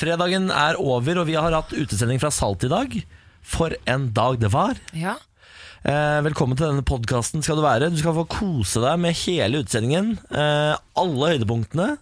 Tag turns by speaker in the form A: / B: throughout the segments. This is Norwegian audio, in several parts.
A: Fredagen er over, og vi har hatt utesending fra Salt i dag. For en dag det var.
B: Ja.
A: Eh, velkommen til denne podkasten skal du være. Du skal få kose deg med hele utsendingen. Eh, alle høydepunktene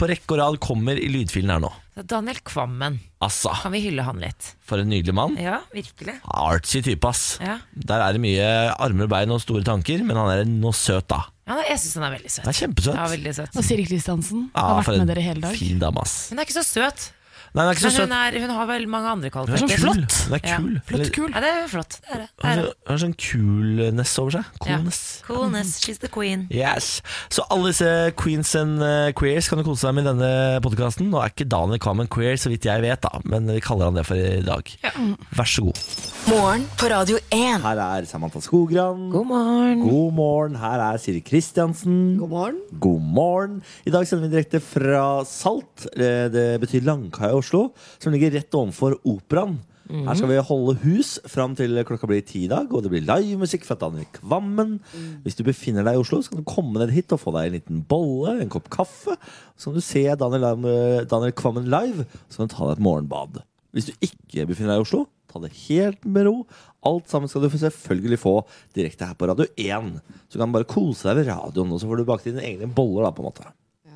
A: på rekke og rad kommer i lydfilen her nå.
B: Daniel Kvammen,
A: Altså,
B: kan vi hylle han litt?
A: for en nydelig mann.
B: Ja, virkelig.
A: Artsy type, ass.
B: Ja.
A: Der er det mye armer og bein og store tanker, men han er noe søt, da.
B: Ja, jeg syns han er veldig søt.
A: Han er kjempesøt.
B: Ja, veldig søt.
C: Og Siri Kristiansen
A: Ja,
C: har
A: for
C: vært
A: en
C: med dere hele dag.
A: Fin dame, ass.
B: Hun er ikke så søt,
A: Nei, hun er ikke
B: men
A: så
B: hun,
A: søt.
B: er, hun har vel mange
A: Hun
B: andre
A: er
B: kvaliteter.
A: kul. Hun er
B: Ja.
A: kul. Eller-
C: Flott, kul.
B: Ja, det er flott. Det er det. det,
A: Hun
B: er
A: har
B: det.
A: så- hun har sånn coolness over seg.
B: Ja.
A: Coolness.
B: Coolness, she's the queen.
A: Yes. Så alle disse queens and eh, queers kan du kose deg med i denne podkasten. Nå er ikke Daniel Kamen queer, så vidt jeg vet, da, men vi kaller han det for i dag. Vær så god.
D: Morgen på Radio 1.
E: Her er Samantha Skogran.
B: God morgen.
E: God morgen. Her er Siri Kristiansen. God morgen. God morgen. I dag sender vi direkte fra Salt. eh, Det betyr Langkaia i Oslo, som ligger rett ovenfor Operaen. Her skal vi holde hus fram til klokka blir ti i dag, og det blir livemusikk fra Daniel Kvammen. Hvis du befinner deg i Oslo, så kan du komme ned hit og få deg en liten bolle, en kopp kaffe. Så kan du se Daniel, eh, Daniel Kvammen live, så kan du ta deg et morgenbad. Hvis du ikke befinner deg i Oslo, ta det helt med ro. Alt sammen skal du selvfølgelig få direkte her på Radio 1. Så kan du bare kose deg ved radioen, og så får du bakt dine egne boller, da, på en måte.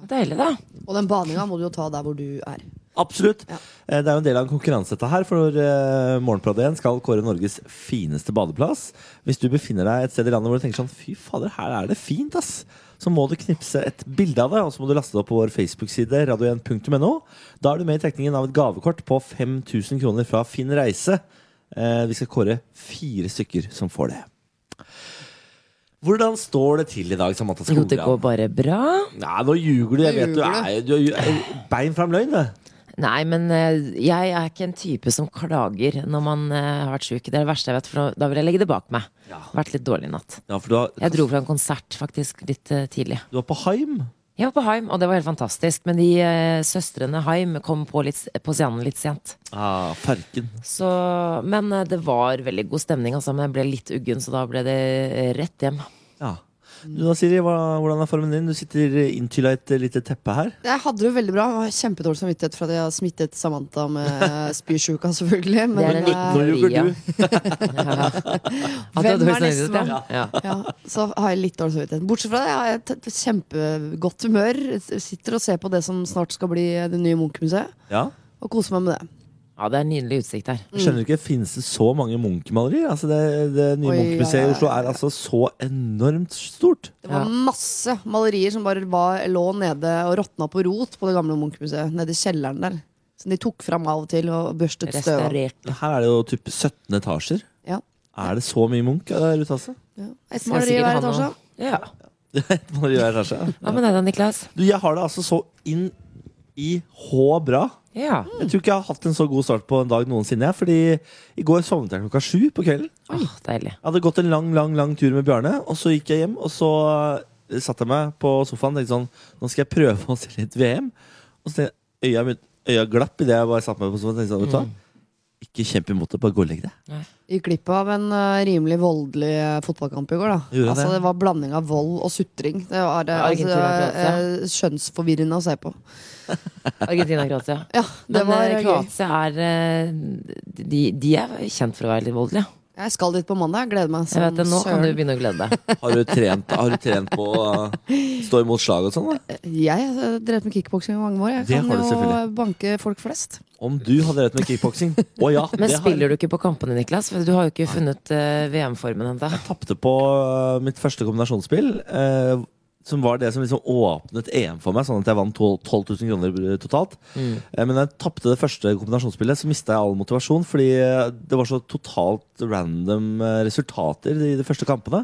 B: Deilig, da.
F: Og den badinga må du jo ta der hvor du er.
E: Absolutt.
F: Ja.
E: Eh, Det er jo en del av en konkurranse dette her, for eh, Morgenpradet 1 skal kåre Norges fineste badeplass. Hvis du befinner deg et sted i landet hvor du tenker sånn fy fader, her er det fint, ass. Så må du knipse et bilde av det, og så må du laste det opp på vår Facebook-side, radio1.no. Da er du med i trekningen av et gavekort på 5000 kroner fra Finn Reise. Eh, Vi skal kåre fire stykker som får det. Hvordan står det til i dag, Samantha
B: Jo, det
E: Skogran?
B: går bare bra.
E: Nei, nå ljuger du. Jeg vet du er, du er bein fram løgn, det.
B: Nei, men eh, jeg er ikke en type som klager når man eh, har vært sjuk. Det er det verste jeg vet, for da vil jeg legge det bak meg. Vært litt dårlig i natt.
E: Ja, for du har,
B: Jeg dro fra en konsert faktisk litt eh, tidlig.
E: Du var på Heim?
B: Jeg var på Heim, og det var helt fantastisk. Men de eh, søstrene Heim kom på, litt, på scenen litt sent.
E: Ah, Ferken.
B: Så, men eh, det var veldig god stemning, altså. Men jeg ble litt uggen, så da ble det eh, rett hjem.
E: Ja. Du da, Siri, hva, hvordan er formen din? Du sitter inntylla i et eh, lite teppe her.
F: Jeg hadde det veldig bra. Jeg har kjempedårlig samvittighet for at jeg har smittet Samantha med eh, spysjuka, selvfølgelig. Men
B: Det er en
F: eh,
B: liten
E: ljuger du.
B: At du hadde
F: Hvem er
B: høy samvittighet,
F: nestemann?
B: ja. Ja.
F: ja, så har jeg litt dårlig samvittighet. Bortsett fra det, jeg har jeg et et kjempegodt humør. Jeg Sitter og ser på det som snart skal bli det nye Munch-museet,
E: Ja.
F: og koser meg med det.
B: ja, det er en nydelig utsikt her.
F: Mm.
E: Jeg Skjønner du ikke, Fins det så mange Munch-malerier? Altså det, det nye
F: Oi,
E: Munch-museet
F: ja,
E: i
F: ja,
E: Oslo er altså så enormt stort.
F: Det var
B: Ja.
F: masse malerier som bare var, lå nede og råtna på rot på det gamle Munch-museet. Nede i kjelleren der. Som de tok fram av og til og børstet støv av.
B: Restaurert.
E: Her er det jo typ 17 etasjer.
F: Ja.
E: Er det så mye Munch der ute, altså?
F: Ja. Et
B: Skal
F: maleri i
B: sikkert
F: hver
B: ha noe-
F: etasje.
B: Ja.
E: Et maleri i hver etasje, ja.
B: Hva med deg da, Niklas?
E: Du, jeg har det altså så inn i hå bra.
B: Ja.
E: Jeg tror ikke jeg har hatt en så god start på en dag noensinne. jeg, Fordi i går sovnet jeg klokka sju på kvelden.
B: Åh, deilig.
E: Jeg hadde gått en lang, lang lang tur med Bjarne, og så gikk jeg hjem. Og så eh, satte jeg meg på sofaen og tenkte sånn Nå skal jeg prøve å se litt VM. Og så tenkte jeg, øya, mitt- øya glapp idet jeg bare satte meg på sofaen. og tenkte sånn, vet du hva?
B: Mm.
E: Ikke kjemp imot det, bare gå og legg deg.
F: Gikk glipp av en eh, rimelig voldelig eh, fotballkamp i går. da
E: Gjorde det?
F: Altså Det var blanding av vold og sutring. Det var, eh, altså, det var
B: Argentina, Kroatia.
F: eh, skjønnsforvirrende å se på.
B: Argentina-Kroatia.
F: Ja, det
B: Men
F: var
B: eh,
F: gøy.
B: Kroatia er eh, de, de er kjent for å være litt voldelige.
F: Jeg skal dit på mandag. jeg Gleder meg
B: Jeg
F: som
B: vet det, Nå kan du
F: søren.
B: begynne å glede deg.
E: Har du trent, har du trent på å eh, stå imot slag og sånn? da?
F: Jeg eh, har drevet med kickboksing i mange år. Jeg
E: Det
F: kan
E: har du
F: jo
E: selvfølgelig.
F: banke folk flest.
E: Om du har drevet med kickboksing? Å ja.
B: Men
E: det har jeg.
B: spiller du ikke på kampene, Niklas? For du har jo ikke funnet eh, VM-formen ennå.
E: tapte på øh, mitt første kombinasjonsspill. øh, som var det som liksom åpnet EM for meg, sånn at jeg vant tol- 12 000 kroner totalt. Eh, Men da jeg tapte det første kombinasjonsspillet, så mista jeg all motivasjon. Fordi eh, det var så totalt random eh, resultater i de første kampene.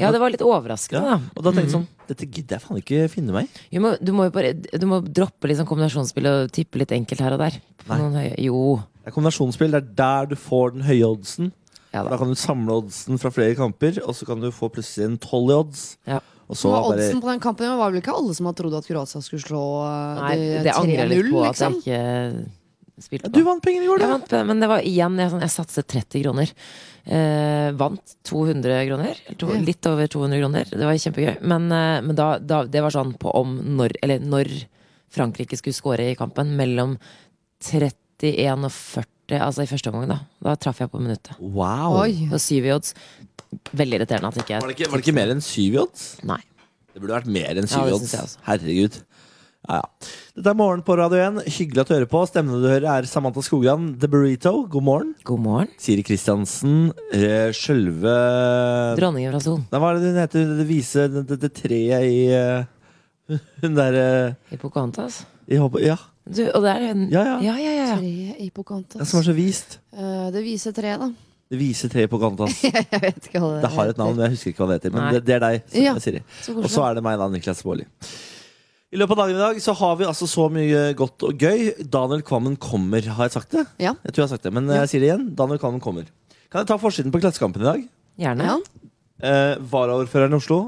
B: Ja, det var litt overraskende,
E: Ja.
B: da.
E: Og da tenkte jeg sånn Dette gidder jeg faen ikke finne meg i.
B: Du må, du må jo bare du må droppe litt sånn kombinasjonsspill og tippe litt enkelt her og der. På noen høye. Jo.
E: Det er kombinasjonsspill. Det er der du får den høye oddsen.
B: Ja
E: Da
B: da.
E: kan du samle oddsen fra flere kamper, og så kan du få plutselig en tolv i odds.
B: Ja.
E: Og så
F: Så var
E: bare
F: oddsen på den kampen Det var vel ikke alle som hadde trodd at Kroatia skulle slå eh,
B: Nei,
F: de
B: det angrer jeg
F: 3-0,
B: litt på at
F: liksom.
B: jeg ikke spilte
E: Du
B: på.
E: vant penger i går,
B: Jeg
E: da!
B: vant, men det var igjen Jeg, sånn, jeg satset 30 kroner. Eh, vant 200 kroner. eller To,
F: Mm.
B: litt over 200 kroner. Det var kjempegøy. Men, eh, men da, da, det var sånn på om når Eller når Frankrike skulle score i kampen mellom 31 og 40, altså i første omgang, da. Da traff jeg på minuttet.
E: Wow!
F: Oi.
B: På syv i odds. Veldig irriterende at ikke jeg
E: Var det, ikke, var det ikke mer enn syv i odds?
B: Nei.
E: Det burde vært mer enn
B: Ja,
E: syv i
B: det
E: odds.
B: synes jeg også.
E: Herregud. Ja, ja. Dette er Morgen på Radio 1. Hyggelig at du hører på. Stemmene du hører, er Samantha Skogran, The Burrito. God morgen.
B: God morgen.
E: Siri Kristiansen, eh, sjølve
B: Dronningen fra Son
E: Nei, Hva er det hun heter? Det vise det, det, det treet i eh, Hun derre
B: i Pocahontas.
E: Ja.
B: Du, og der er hun.
E: Ja, ja.
B: ja, ja, ja.
F: Treet i
E: Den
F: Pocahontas.
E: som er så vist.
F: Eh, det viser treet, da.
E: Det vise treet på Gantas.
F: Jeg vet ikke hva det
E: Det har et navn, men jeg husker ikke hva det heter. Men
B: Nei.
E: det, det er deg, Siri-
F: Ja.
E: Siri.
F: Så
E: Og så
F: koselig.
E: er det meg, da, Niklas Baarli. I løpet av dagen i dag så har vi altså så mye godt og gøy. Daniel Kvammen kommer, har jeg sagt det?
F: Ja.
E: Jeg tror jeg har sagt det, men jeg sier det igjen. Daniel Kvammen kommer. Kan jeg ta forsiden på Klassekampen i dag?
B: Gjerne.
F: Ja.
E: Eh, Varaordføreren i Oslo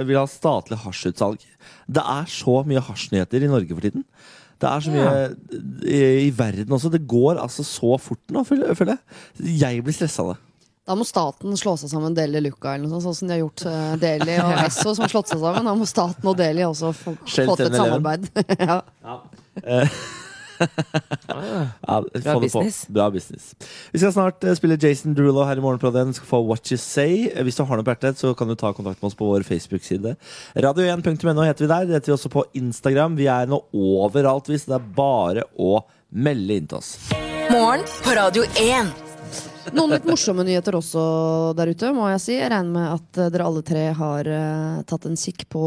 E: vil ha statlig hasjutsalg. Det er så mye hasjnyheter i Norge for tiden. Det er så mye i, i verden også. Det går altså så fort nå, føler føler jeg. Jeg blir stressa av det.
F: Da må staten slå seg sammen Deli Luca, eller noe sånt, sånn som de har gjort eh, Deli og Esso, som har slått seg sammen. Da må staten og Deli også få,
E: Skjell
F: få til et
E: 7-Eleven.
F: samarbeid. ja.
E: Ja, få det på.
B: business.
E: Bra business. Vi skal snart eh, spille Jason Derulo her i morgen. på Radio 1. Du skal få What You Say. Eh, Hvis du har noe på hjertet, så kan du ta kontakt med oss på vår Facebook-side. Radio1.no heter vi der. Det heter vi også på Instagram. Vi er nå overalt, hvis det er bare å melde inn til oss.
D: Morgen på Radio 1.
F: Noen litt morsomme nyheter også der ute, må jeg si. Jeg regner med at eh, dere alle tre har eh, tatt en kikk på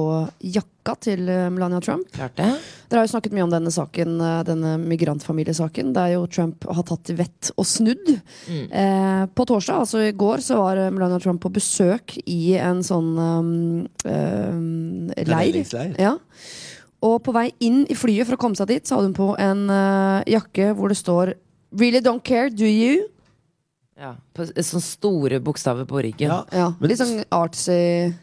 F: jakka til eh, Melania Trump.
B: Klart det.
F: Dere har jo snakket mye om denne saken, eh, denne migrantfamiliesaken, der jo Trump har tatt til vett og snudd.
B: Mm.
F: Eh, på torsdag, altså i går, så var eh, Melania Trump på besøk i en sånn eh, eh, leir.
E: Treningsleir.
F: Ja. Og på vei inn i flyet for å komme seg dit, så hadde hun på en eh, jakke hvor det står Really don't care, do you?
B: Ja. På sånne store bokstaver på ryggen.
E: Ja.
F: Ja,
E: Men-
F: Litt sånn artsy.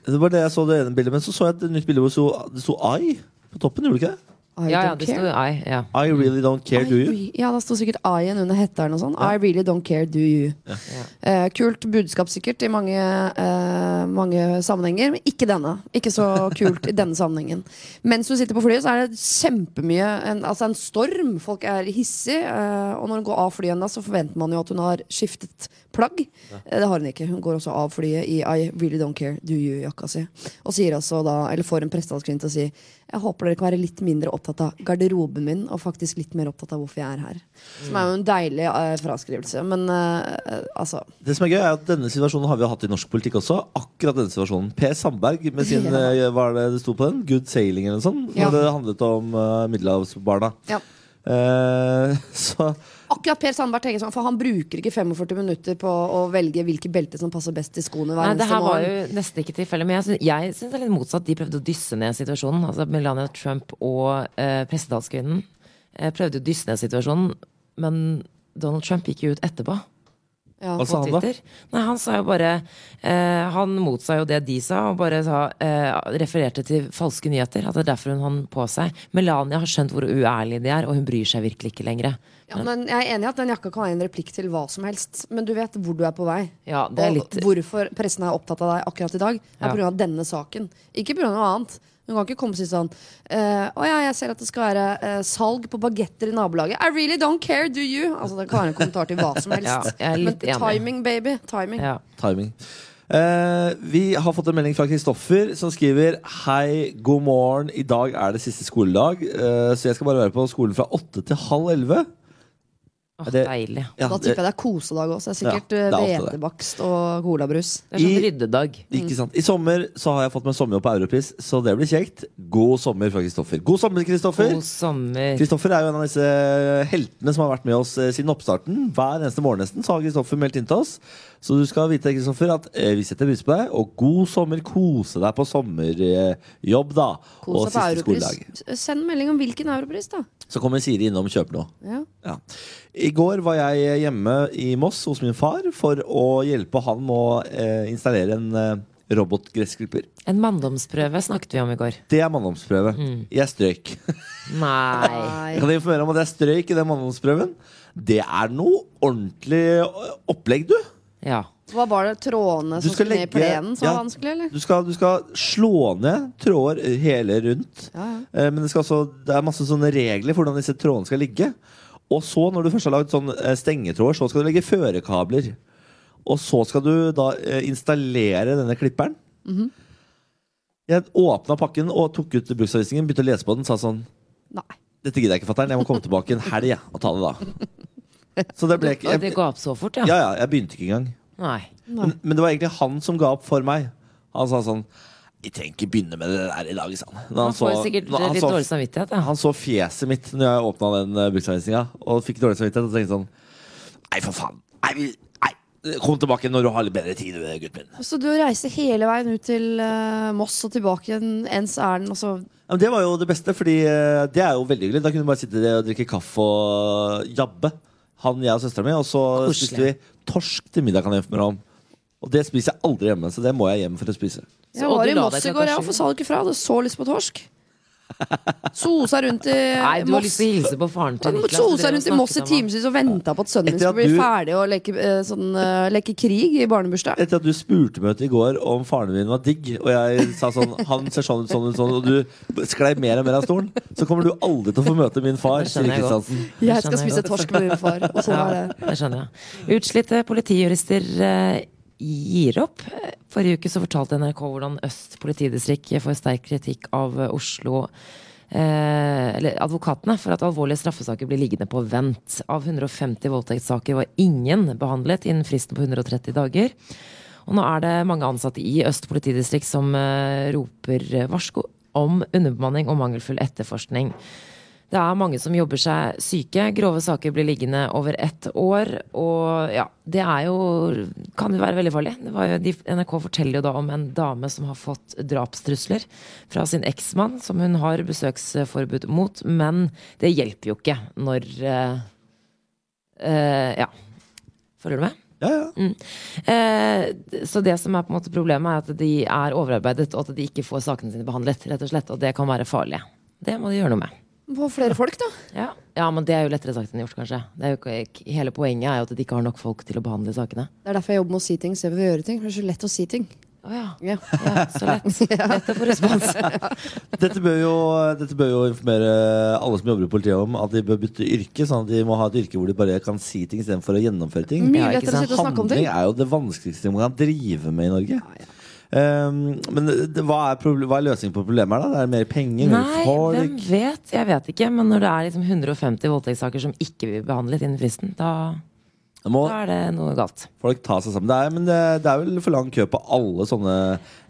E: Det var det jeg så det ene bildet, men så så jeg et nytt bilde hvor det sto, det sto I på toppen. Gjorde det ikke det?
F: I
B: ja, ja,
F: don't
B: det
F: care.
B: sto I. Ja.
E: I really don't care, do you?
F: I, ja, da sto sikkert I-en under hetta eller noe sånt. I really don't care, do you? Eh, kult budskap sikkert i mange, eh, mange sammenhenger, men ikke denne. Ikke så kult i denne sammenhengen. Mens du sitter på flyet, så er det kjempemye en, Altså en storm. Folk er hissige. eh, og når hun går av flyet igjen, da, så forventer man jo at hun har skiftet plagg. Eh, det har hun ikke. Hun går også av flyet i I really don't care, do you-jakka si. Og sier altså da, eller får en pressehanskrin til å si jeg håper dere kan være litt mindre opptatt av garderoben min, og faktisk litt mer opptatt av hvorfor jeg er her. Som er jo en deilig eh, fraskrivelse. Men eh, eh, altså
E: Det som er gøy er at Denne situasjonen har vi jo hatt i norsk politikk også. Akkurat denne situasjonen Per Sandberg med sin
F: Ja.
E: eh, hva er det det sto på den? Good sailing eller noe sånt.
F: Ja.
E: Når det handlet om eh, middelhavsbarna.
F: Ja.
E: Eh, så
F: Akkurat Per Sandberg tenker sånn, for han bruker ikke 45 minutter på å velge hvilke belter som passer best til skoene hver
B: Nei, det
F: eneste
B: her var
F: morgen.
B: jo nesten ikke tilfellet. Men jeg syns, jeg syns det er litt motsatt. De prøvde å dysse ned situasjonen. Altså Melania Trump og eh, pressetalskvinnen eh, prøvde å dysse ned situasjonen, men Donald Trump gikk jo ut etterpå.
F: Ja.
E: Hva sa
B: på
E: han da?
B: Twitter. Nei, han sa jo bare eh, Han motsa jo det de sa, og bare sa, eh, refererte til falske nyheter. At det er derfor hun han på seg. Melania har skjønt hvor uærlige de er, og hun bryr seg virkelig ikke lenger.
F: Ja, men jeg er enig i at den jakka kan være en replikk til hva som helst, men du vet hvor du er på vei.
B: Ja, det er litt
F: Og hvorfor pressen er opptatt av deg akkurat i dag, er
B: Ja.
F: pga. denne saken. Ikke pga. noe annet. Hun kan ikke komme og si sånn eh, Å ja, jeg ser at det skal være eh, salg på bagetter i nabolaget. I really don't care, do you? Altså, Det kan være en kommentar til hva som helst.
B: Ja, jeg er litt
F: men
B: enig.
F: timing, baby. Timing.
B: ja.
E: timing. Eh, vi har fått en melding fra Kristoffer som skriver Hei, god morgen. I dag er det siste skoledag, eh, så jeg skal bare være på skolen fra åtte til halv elleve.
B: Åh,
E: Er det-
B: deilig.
E: Ja,
F: Da tipper jeg det er kosedag også. Det er sikkert
E: Ja, det er
F: eh,
E: ofte det.
F: hvetebakst og colabrus.
B: Det er sånn
E: I-
B: ryddedag.
E: Eh, Ikke sant? I sommer så har jeg fått meg sommerjobb på Europris, så det blir kjekt. God sommer fra Kristoffer. God sommer, Kristoffer!
B: God sommer.
E: Kristoffer er jo en av disse eh, heltene som har vært med oss eh, siden oppstarten. Hver eneste morgen nesten så har Kristoffer meldt inn til oss. Så du skal vite Kristoffer, at eh, vi setter pris på deg, og god sommer. Kose deg på sommerjobb, da.
F: Kos
E: og
F: deg på
E: siste skoledag.
F: Europris. S- Send melding om hvilken Europris, da.
E: Så kommer Siri innom og kjøper noe.
F: Ja.
E: Ja. I går var jeg eh, hjemme i Moss hos min far for å hjelpe han med å eh, installere en eh, robotgressklipper.
B: En manndomsprøve snakket vi om i går.
E: Det er manndomsprøve.
F: Mm.
E: Jeg strøyk.
B: Nei.
F: Nei.
E: Jeg kan informere om at jeg strøyk i den manndomsprøven. Det er noe ordentlig eh, opplegg, du.
B: Ja.
F: Hva var det trådene
E: Du
F: som
E: skal
F: skulle ned i
E: legge-
F: plenen som
E: ja.
F: var vanskelig, eller?
E: Du skal, du skal slå ned tråder hele rundt.
F: Ja, ja.
E: Eh, Men det, skal også, det er masse sånne regler for hvordan disse trådene skal ligge. Og så, når du først har lagd sånn eh, stengetråder, så skal du legge førekabler. Og så skal du da eh, installere denne klipperen.
F: Mhm.
E: Jeg åpna pakken og tok ut bruksanvisningen, begynte å lese på den, sa sånn
F: Nei.
E: Dette gidder jeg ikke, fatter'n. Jeg må komme tilbake en helg jeg, og ta det da. Så det ble ikke
B: Og det
E: jeg,
B: ga opp så fort, ja?
E: Ja, ja, jeg begynte ikke engang.
B: Nei.
E: Men, men det var egentlig han som ga opp for meg. Han sa sånn Jeg trenger ikke begynne med det der i dag, sa han. Når
B: Han får sikkert
E: når han
B: litt
E: så-
B: dårlig samvittighet.
E: han så fjeset mitt når jeg åpna den eh, bruksanvisninga, og fikk dårlig samvittighet. Og tenkte sånn Nei, for faen. Nei, vi- nei. Kom tilbake når du har litt bedre tid, gutten min.
F: Så du reiser hele veien ut til eh, Moss og tilbake igjen, ens ærend, altså. og så
E: Ja, men det var jo det beste, fordi eh, det er jo veldig hyggelig. Da kunne du bare sitte der og drikke kaffe og jabbe. Han, jeg og søstera mi. Og så
B: Koselig.
E: spiste vi torsk til middag, kan jeg informere om. Og det spiser jeg aldri hjemme, så det må jeg hjem for å spise.
F: Jeg
B: og
F: var
B: du
F: i
B: la
F: Moss
B: deg
F: i
B: klokka
F: går, jeg,
B: sju.
F: for sa du ikke fra? Hadde så lyst på torsk. Sosa rundt i
B: Nei, du har
F: Moss.
B: lyst til å hilse på faren til Niklas. og
F: Sosa
B: dere
F: rundt i
B: har
F: Moss i
B: snakket om han.
F: timevis og venta på at sønnen min
E: Etter
F: skulle
E: at
F: bli
E: du-
F: ferdig og leke, eh, sånn, eh, leke krig i barnebursdag.
E: Etter at du spurte meg ut i går om faren min var digg, og jeg sa sånn Han ser sånn ut, sånn ut, sånn, og du sklei mer og mer av stolen, så kommer du aldri til å få møte min far,
B: Det
E: Siri
B: skjønner jeg godt.
E: Kristiansen.
B: Det
F: Jeg skal
B: skjønner jeg
F: spise
B: godt.
F: torsk med din far. Og sånn er det.
B: Ja, det skjønner jeg. Utslitte politijurister eh, gir opp. Forrige uke så fortalte NRK hvordan Øst politidistrikt får sterk kritikk av eh, Oslo Eh, eller advokatene for at alvorlige straffesaker blir liggende på vent. Av 150 voldtektssaker var ingen behandlet innen fristen på 130 dager. Og nå er det mange ansatte i Øst politidistrikt som eh, roper varsko om underbemanning og mangelfull etterforskning. Det er mange som jobber seg syke. Grove saker blir liggende over ett år. Og ja, det er jo Kan jo være veldig farlig. Det var jo, de, NRK forteller jo da om en dame som har fått drapstrusler fra sin eksmann, som hun har besøksforbud mot. Men det hjelper jo ikke når eh, eh, Ja. Følger du med?
E: Ja, ja.
B: Eh, så det som er på en måte problemet, er at de er overarbeidet, og at de ikke får sakene sine behandlet. rett og slett, Og det kan være farlig. Det må de gjøre noe med.
F: På flere folk, da.
B: Ja. ja, men det er jo lettere sagt enn gjort, kanskje. Det er jo ikke, hele poenget er jo at de ikke har nok folk til å behandle sakene.
F: Det er derfor jeg jobber med å si ting istedenfor å gjøre ting. For det er så lett å si ting.
B: Å ja.
F: Ja.
B: ja. Så lett. Lett å få respons.
E: Dette bør, jo, dette bør jo informere alle som jobber i politiet om at de bør bytte yrke. Sånn at de må ha et yrke hvor de bare kan si ting istedenfor å gjennomføre ting.
F: Mye
B: Ja, ikke
F: lettere å
B: sant.
F: sitte og snakke om ting.
E: Handling er jo det vanskeligste man kan drive med i Norge. Um, men det, hva, er proble- hva er løsningen på problemet her, da? Det er mer penger, mer
B: Nei, hvem
E: folk
B: vet? Jeg vet ikke. Men når det er liksom 150 voldtektssaker som ikke blir behandlet innen fristen, da,
E: Da Må
B: da er det noe galt.
E: folk ta seg sammen. Det er, men det, det er vel for lang kø på alle sånne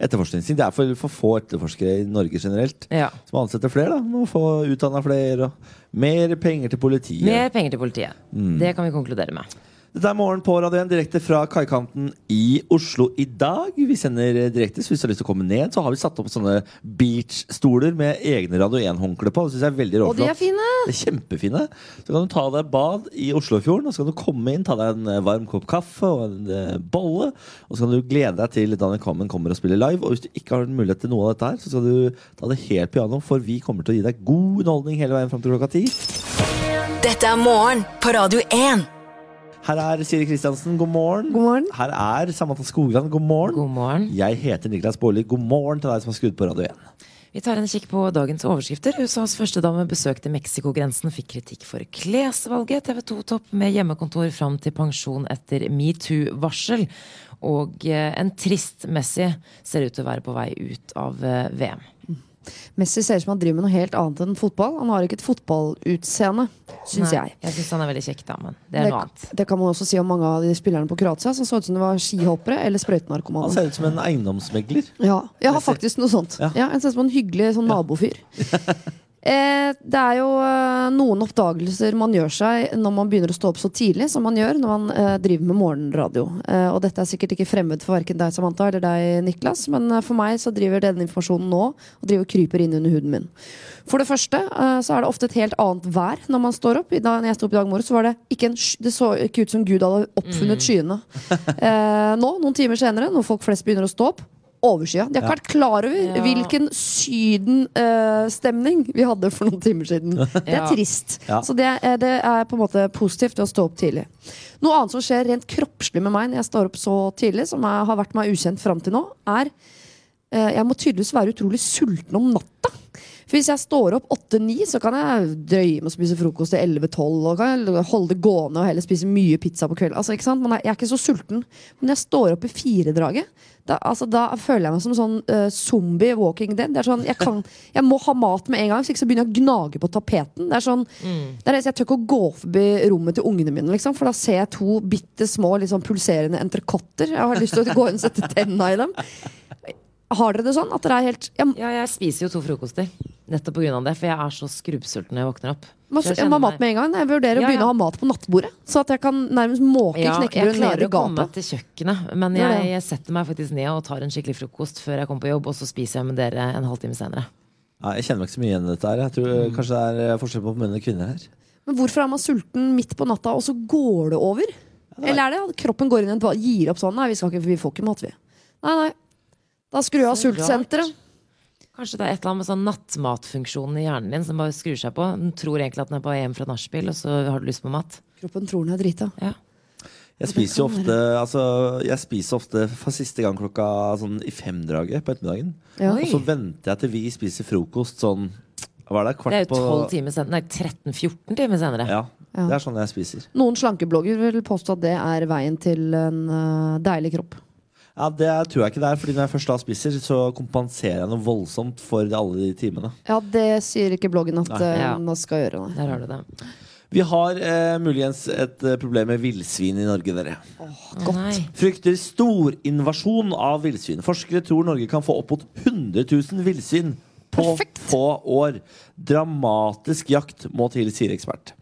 E: etterforskningsting. Det er for, for få etterforskere i Norge generelt.
B: Ja.
E: Som ansetter flere, da. Må få utdanna flere. Og mer penger til politiet.
B: Mer penger til politiet. Det kan vi konkludere med.
E: Dette er Morgen på Radio 1 direkte fra kaikanten i Oslo i dag. Vi sender eh, direkte, så hvis du har lyst til å komme ned, så har vi satt opp sånne beachstoler med egne Radio 1-håndkle på. Det synes jeg er veldig
F: Og de er
E: råflott.
F: fine!
E: Det er kjempefine. Så kan du ta deg et bad i Oslofjorden, og så kan du komme inn, ta deg en eh, varm kopp kaffe og en eh, bolle, og så kan du glede deg til Daniel Kvammen kommer og spiller live. Og hvis du ikke har mulighet til noe av dette her, så skal du ta det helt piano, for vi kommer til å gi deg god underholdning hele veien fram til klokka ti.
D: Dette er morgen på Radio 1.
E: Her er Siri Kristiansen, god morgen.
F: God morgen.
E: Her er Samantha Skogran, god morgen.
B: God morgen.
E: Jeg heter Niklas Baarli. God morgen til deg som har skrudd på radio 1.
B: Vi tar en kikk på dagens overskrifter. USAs førstedame besøkte Mexico-grensen og fikk kritikk for klesvalget. TV 2-topp med hjemmekontor fram til pensjon etter metoo-varsel. Og eh, en trist Messi ser ut til å være på vei ut av eh, VM.
F: Messi ser ut som han driver med noe helt annet enn fotball. Han har ikke et fotballutseende, syns
B: Nei,
F: jeg.
B: Jeg syns han er veldig kjekk, da, men det er noe annet.
F: det kan man også si om mange av de spillerne på Kroatia som så ut som det var skihoppere eller
E: Han
F: sprøytenarkomane.
E: ser ut som en eiendomsmegler.
F: Ja, jeg har faktisk noe sånt.
E: Ja.
F: Ja. jeg ser ut som en hyggelig sånn nabofyr. Eh, det er jo eh, noen oppdagelser man gjør seg når man begynner å stå opp så tidlig som man gjør når man eh, driver med morgenradio. Eh, og dette er sikkert ikke fremmed for verken deg, Samantha, eller deg, Niklas, men eh, for meg så driver denne informasjonen nå og driver og kryper inn under huden min. For det første eh, så er det ofte et helt annet vær når man står opp. I dag, når jeg sto opp i dag morges, så var det ikke en sky, det så ikke ut som Gud hadde oppfunnet skyene. Eh, nå, noen timer senere, når folk flest begynner å stå opp, overskya. De har ikke vært klar over
B: Ja.
F: hvilken Syden-stemning vi hadde for noen timer siden. Det er
B: Ja.
F: trist.
E: Ja.
F: Så det, er- det er på en måte positivt ved å stå opp tidlig. Noe annet som skjer rent kroppslig med meg når jeg står opp så tidlig, som er, har vært meg ukjent fram til nå, er eh, Jeg må tydeligvis være utrolig sulten om natta. For hvis jeg står opp 8-9, så kan jeg drøye med å spise frokost til 11-12. Og kan jeg holde det gående og heller spise mye pizza på kvelden. Altså, ikke sant? Man er, jeg er ikke så sulten. Men når jeg står opp i firedraget, da, altså, da føler jeg meg som en sånn eh, zombie walking dead. Det er sånn, jeg, kan, jeg må ha mat med en gang, så ikke så begynner jeg å gnage på tapeten. Det er sånn, det er, det- jeg tør ikke å gå forbi rommet til ungene mine, liksom, for da ser jeg to bitte små liksom, pulserende entrecôter. Jeg har lyst til å gå inn og sette tenna i dem. Har dere det sånn? At dere er helt jeg,
B: Ja, jeg spiser jo to frokoster. Nettopp pga. det, for jeg er så skrubbsulten når jeg våkner opp.
F: må,
B: Så jeg
F: jeg må ha
B: kjenner
F: mat
B: meg-
F: med en gang. Jeg
B: Ja,
F: vurderer å
B: ja.
F: begynne å ha mat på nattbordet. Så at jeg kan nærmest måke
B: Ja, jeg
F: knekkebrød ned
B: klarer
F: i
B: å komme meg
F: gapet.
B: til kjøkkenet, men
F: Ja,
B: jeg,
F: ja.
B: jeg setter meg faktisk ned og tar en skikkelig frokost før jeg kommer på jobb, og så spiser jeg med dere en halvtime senere.
E: Ja, jeg kjenner meg ikke så mye igjen i dette her. Jeg tror
B: Mm.
E: eh, kanskje det er eh, forskjell på menn og kvinner her.
F: Men hvorfor er man sulten midt på natta, og så går det over? Eller er det at kroppen går inn i en dvale, gir opp sånn? Nei, vi, skal ikke, vi får ikke mat, vi. Nei, nei. Da skrur jeg av
B: Så
F: sultsenteret.
B: Kanskje det er et eller annet med sånn nattmatfunksjonen i hjernen din som bare skrur seg på. Den tror egentlig at den er på hjem fra nachspiel, og så har du lyst på mat.
F: Kroppen tror den er drita.
B: Ja.
E: Jeg spiser jo ofte altså, Jeg spiser ofte for siste gang klokka sånn i femdraget på ettermiddagen.
F: Ja.
E: Og så venter jeg til vi spiser frokost sånn Hva er det? Kvart
B: Det er jo
E: på
B: 12 timer senere, nei 13-14 timer senere.
E: Ja, Det er sånn jeg spiser.
F: Noen slankeblogger vil påstå at det er veien til en øh, deilig kropp.
E: Ja, Det tror jeg ikke det er, Fordi når jeg først da spiser, så kompenserer jeg noe voldsomt for alle de timene.
F: Ja, det sier ikke bloggen at øh,
B: Ja.
F: man skal gjøre. Nei.
B: Der har du det.
E: Vi har eh, muligens et eh, problem med villsvin i Norge, dere.
B: Godt. Nei.
E: Frykter storinvasjon av villsvin. Forskere tror Norge kan få opp mot 100 000 villsvin på få år. Dramatisk jakt må til, sier ekspert.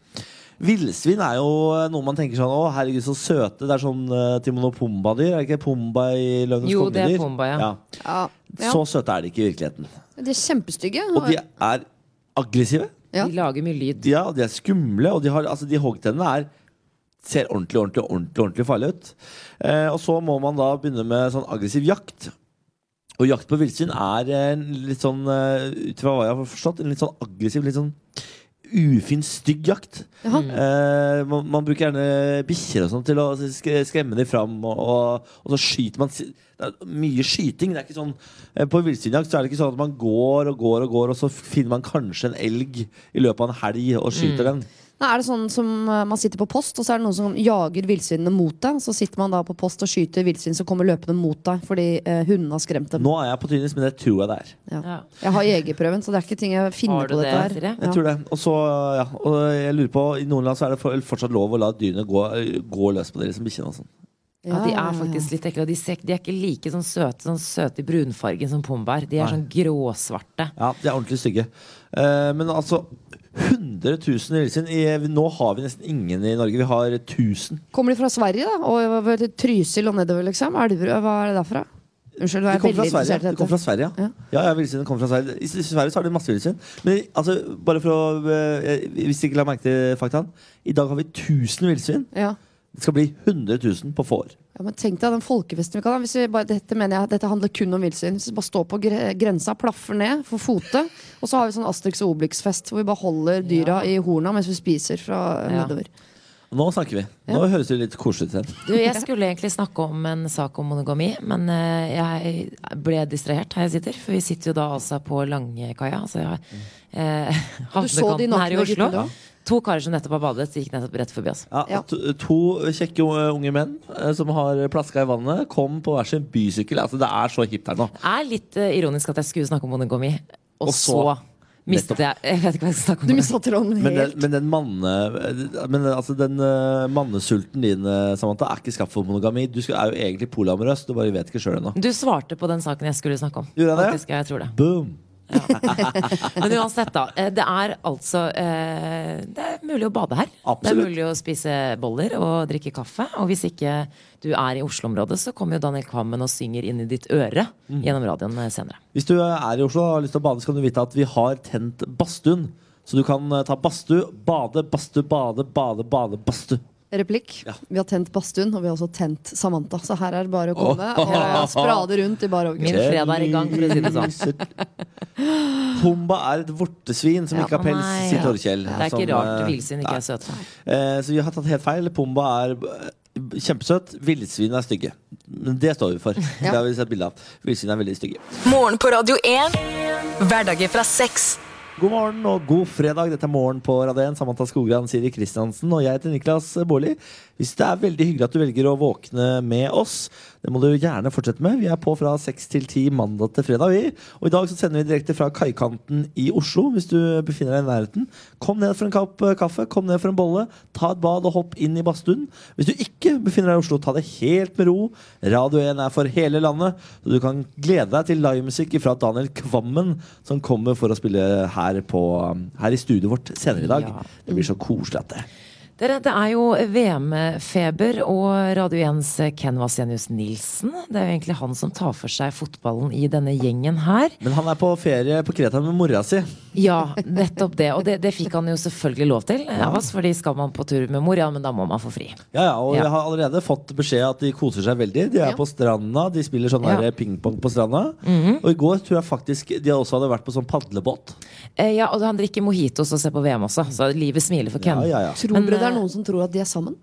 E: Villsvin er jo noe man tenker sånn Å, herregud, så søte. Det er sånn eh, Timon og Pumba-dyr. Er det ikke Pumba i Løvens
B: Jo, det er
E: kongedyr?
B: Pumba, ja.
F: Ja. Ja.
E: Så søte er de ikke i virkeligheten.
F: De er kjempestygge.
E: Og de er aggressive.
F: Ja.
B: De lager mye lyd.
E: Ja, de er skumle, og de, har, altså, de hoggtennene er Ser ordentlig, ordentlig, ordentlig, ordentlig farlig ut. Eh, og så må man da begynne med sånn aggressiv jakt. Og jakt på villsvin er eh, en litt sånn, eh, ut fra hva jeg har forstått, en litt sånn aggressiv, litt sånn ufin, stygg jakt. Eh, man, man bruker gjerne bikkjer og sånn til å sk- skremme dem fram, og, og, og så skyter man si- Det er mye skyting. Det er ikke sånn, eh, på villsvinjakt så er det ikke sånn at man går og går og går, og så finner man kanskje en elg i løpet av en helg og skyter den.
F: Nei, er det sånn som eh, man sitter på post, og så er det noen som jager villsvinene mot deg? Så sitter man da på post og skyter villsvin som kommer løpende mot deg fordi eh, hundene har skremt dem.
E: Nå er jeg på tynnis, men det tror jeg det er.
F: Ja.
B: Ja.
F: Jeg har jegerprøven, så det er ikke ting jeg
B: Har
F: finner
B: du
F: på dette
B: det,
F: her.
B: Siri?
E: Jeg tror det. Og så, ja, og jeg lurer på, I noen land så er det for- fortsatt lov å la dyrene gå, gå løs på dere som bikkjene. og sånn.
B: Ja, de er faktisk litt ekle. Og de, ser, de er ikke like sånn søte sånn søte i brunfargen som Pumba er. De er sånn gråsvarte.
E: Ja, de er ordentlig stygge. Eh, men altså 100 000 villsvin. i- eh, Nå har vi nesten ingen i Norge. Vi har 1000.
F: Kommer de fra Sverige, da? Og over til Trysil og nedover, liksom? Elverød, hva er det derfra? Unnskyld, nå
E: De
F: er jeg
E: kommer
F: veldig
E: fra Sverige.
F: interessert i
E: De kom fra
F: dette.
E: Sverige ja. Ja, ja, villsvinene kommer fra Sverige. I S- Sverige så har de masse villsvin. Men altså, bare for å eh, Hvis de ikke la merke til faktaen. I dag har vi 1000 villsvin.
F: Ja.
E: Det skal bli 100 000 på få år.
F: Ja, men tenk deg den folkefesten vi kan ha. Hvis vi bare, dette mener jeg, dette handler kun om villsvin. Hvis vi bare står på gre grensa, plaffer ned, får fote, og så har vi sånn Asterix og Obelix-fest hvor vi bare holder dyra i horna mens vi spiser fra
B: Ja.
F: nedover.
E: Nå snakker vi. Nå høres det litt koselig ut igjen.
B: Du, jeg skulle egentlig snakke om en sak om monogami, men eh, jeg ble distrahert her jeg sitter. For vi sitter jo da altså på Langekaia. Altså, jeg, eh,
F: så de
B: havnekanten her i
F: nakne
B: Oslo.
F: guttene da?
B: To karer som nettopp har badet, de gikk nettopp rett forbi oss.
E: Ja,
F: Ja.
E: To, to kjekke eh, unge menn eh, som har plaska i vannet, kom på hver sin bysykkel. Altså, det er så hipt her nå.
B: Det er litt eh, ironisk at jeg skulle snakke om monogami, og,
E: Og
B: så,
E: så-
B: mistet jeg Jeg vet ikke hva jeg skal snakke om.
F: Du mista tråden
E: Men den,
F: helt.
E: men den, manne, eh, men, eh, altså, den eh, mannesulten din eh, Samantha, er ikke skapt for monogami. Du skal, er jo egentlig polyamorøs, du bare vet ikke sjøl ennå.
B: Du svarte på den saken jeg skulle snakke om.
E: Gjorde jeg det?
B: Faktisk, ja, jeg tror det.
E: Boom!
B: Men uansett, da. eh, Det er altså eh, Det er mulig å bade her. Det er
E: Absolutt.
B: mulig å spise boller og drikke kaffe. Og hvis ikke du er i Oslo-området, så kommer jo Daniel Kvammen og synger inn i ditt øre
E: Mm.
B: gjennom radioen eh, senere.
E: Hvis du er i Oslo og har lyst til å bade, så kan du vite at vi har tent badstuen. Så du kan eh, ta badstue, bade, badstue, bade, bade, bade, badstue.
F: Replikk.
E: Ja.
F: Vi har tent badstuen, og vi har også tent Samantha. Så her er det bare å komme og eh, sprade rundt i bar
B: Min
F: overkropp.
B: fredag er i gang, for å si det sånn.
E: Pumba er et vortesvin som
F: Ja,
E: ikke har pels,
B: nei,
E: sier
B: ja.
E: Torkjell.
B: Det er
E: som,
B: ikke rart
E: eh,
B: villsvin ikke er søte.
E: Eh, så vi har tatt helt feil. Pumba er eh, kjempesøt. Villsvin er stygge. Men Det står vi for. Det har vi sett bilde av. Vildsvin er veldig stygge.
D: Morgen på Radio 1. Hverdager fra seks.
E: God morgen og god fredag. Dette er Morgen på Radio 1. Samantha Skogran, Siri Kristiansen og jeg heter Niklas Baarli. Hvis det er veldig hyggelig at du velger å våkne med oss, det må du gjerne fortsette med. Vi er på fra seks til ti mandag til fredag, vi. Og i dag så sender vi direkte fra kaikanten i Oslo, hvis du befinner deg i nærheten. Kom ned for en kopp eh, kaffe, kom ned for en bolle, ta et bad og hopp inn i badstuen. Hvis du ikke befinner deg i Oslo, ta det helt med ro. Radio 1 er for hele landet, så du kan glede deg til livemusikk fra Daniel Kvammen, som kommer for å spille her, på, um, her i studioet vårt senere i dag.
B: Ja.
E: Det blir så koselig at det
B: Dere, det er jo VM-feber og Radio 1s Ken Vasenius Nilsen. Det er jo egentlig han som tar for seg fotballen i denne gjengen her.
E: Men han er på ferie på Kreta med mora si.
B: Ja, nettopp det. Og det, det fikk han jo selvfølgelig lov til eh, av oss, fordi skal man på tur med mor, ja, men da må man få fri.
E: Ja, ja, og
B: Ja.
E: jeg har allerede fått beskjed at de koser seg veldig. De er på stranda, de spiller sånn
B: Ja. Mhm.
E: der pingpong på stranda. Og i går tror jeg faktisk de også hadde vært på sånn padlebåt.
B: Eh, ja, og han drikker mojitos og ser på VM også, så livet smiler for Ken.
E: Ja, ja, ja.
F: Tror
B: Men,
F: dere det
B: eh,
F: er noen som tror at de er sammen?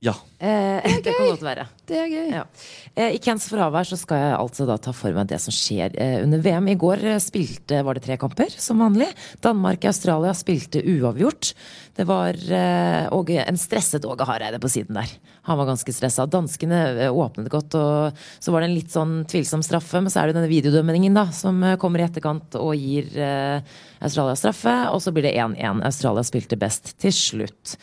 E: ja.
B: Eh, det kan godt være.
F: Det er gøy.
B: Ja. Eh, I Kens fravær så skal jeg altså da ta for meg det som skjer eh, under VM. I går eh, spilte var det tre kamper, som vanlig. Danmark og Australia spilte uavgjort. Det var eh, og en stresset Åge Hareide på siden der. Han var ganske stressa. Danskene eh, åpnet godt, og så var det en litt sånn tvilsom straffe. Men så er det denne videodømmingen da, som eh, kommer i etterkant og gir eh, Australia straffe. Og så blir det 1-1. Australia spilte best til slutt.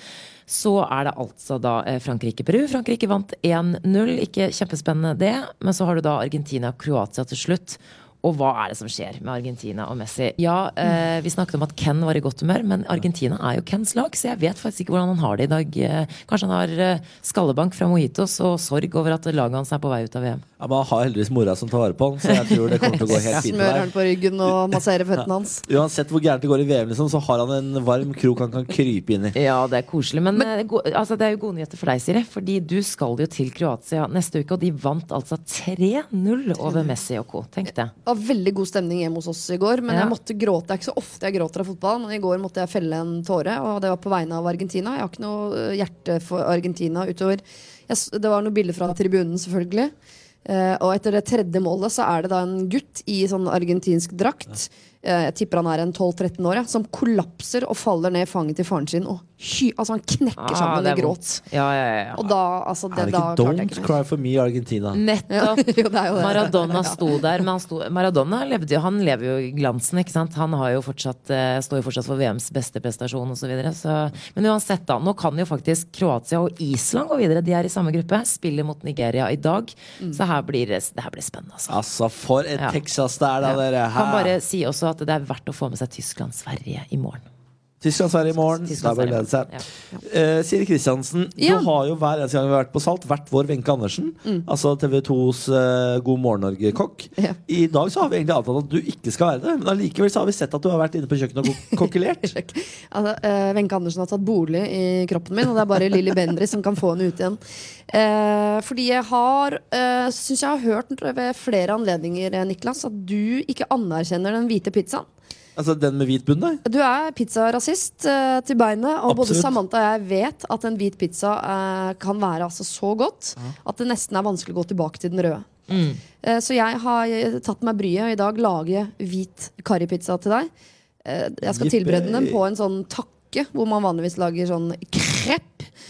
B: Så er det altså da eh, Frankrike-Peru. Frankrike vant 1-0. Ikke kjempespennende det, men så har du da Argentina og Kroatia til slutt. Og hva er det som skjer med Argentina og Messi? Ja, eh, Vi snakket om at Ken var i godt humør, men Argentina er jo Kens lag, så jeg vet faktisk ikke hvordan han har det i dag. Eh, Kanskje han har eh, skallebank fra mojitos og sorg over at laget hans er på vei ut av VM.
E: ja, Men han har heldigvis mora som tar vare på han, så jeg tror det kommer til å gå helt fint. med
F: Smører
E: det
F: han på ryggen og masserer føttene hans.
E: her. Uansett hvor gærent det går i VM, liksom, så har han en varm krok han kan krype inn i.
B: Ja, det er koselig. Men, eh, go- altså, det er jo gode nyheter for deg, Siri. Fordi du skal jo til Kroatia neste uke, og de vant altså 3-0 over Messi og co. Tenk det.
F: Det var veldig god stemning hjemme hos oss i går, men
B: Ja.
F: jeg måtte gråte. Det er ikke så ofte jeg gråter av fotball, men i går måtte jeg felle en tåre, og det var på vegne av Argentina. Jeg har ikke noe eh, hjerte for Argentina utover jeg, s- Det var noen bilder fra tribunen, selvfølgelig. Eh, og etter det tredje målet så er det da en gutt i sånn argentinsk drakt, eh, jeg tipper han er en 12-13 år, ja, som kollapser og faller ned i fanget til faren sin og hy, altså han knekker
B: Ah,
F: sammen
B: det
F: i
B: er
F: gråt.
B: vondt. Ja, ja, ja, ja.
F: Og da, altså, det,
E: Er det
F: da
E: ikke
F: klarte jeg
E: Don't
F: ikke mer.
E: cry for me, Argentina?
B: Mm. Nettopp.
F: Jo, det er jo det.
B: Maradona sto der, men han sto, Maradona levde jo, han lever jo i glansen. ikke sant? Han har jo fortsatt, eh, står jo fortsatt for VMs beste prestasjon osv. Så videre, så, men uansett, da. Nå kan jo faktisk Kroatia og Island gå videre. De er i samme gruppe. Spiller mot Nigeria i dag. Så her blir det, det her blir spennende, altså.
E: Altså, for et
B: Ja.
E: Texas det er, da, dere.
B: Ja. Kan
E: Hæ?
B: bare si også at det er verdt å få med seg Tyskland-Sverige i morgen.
E: Tyskland-Sverige i morgen. Da
B: Tyskland,
E: bør glede seg.
B: Sverige.
E: Eh, Siri Kristiansen,
F: Ja.
E: du har jo hver eneste gang vi har vært på Salt, vært vår Wenche Andersen. Altså TV 2s eh, God morgen Norge-kokk.
F: Ja.
E: I dag så har vi egentlig avtalt at du ikke skal være det, men allikevel så har vi sett at du har vært inne på kjøkkenet og kok kokkelert.
F: Altså, eh, Wenche Andersen har tatt bolig i kroppen min, og det er bare Lilly Bendriss som kan få henne ut igjen. Eh, fordi jeg har uh, syns jeg har hørt ved flere anledninger, eh, Niklas, at du ikke anerkjenner den hvite pizzaen.
E: altså den med hvit bunn der.
F: Du er pizzarasist eh, til beinet, og både
E: Absolutt.
F: Samantha og jeg vet at en hvit pizza eh, kan være altså så godt at det nesten er vanskelig å gå tilbake til den røde.
E: Mm.
F: Eh, så jeg har eh, tatt meg bryet og i dag lage hvit karripizza til deg. Eh, jeg skal
E: Jippee.
F: tilberede den på en sånn takke, hvor man vanligvis lager sånn krepp.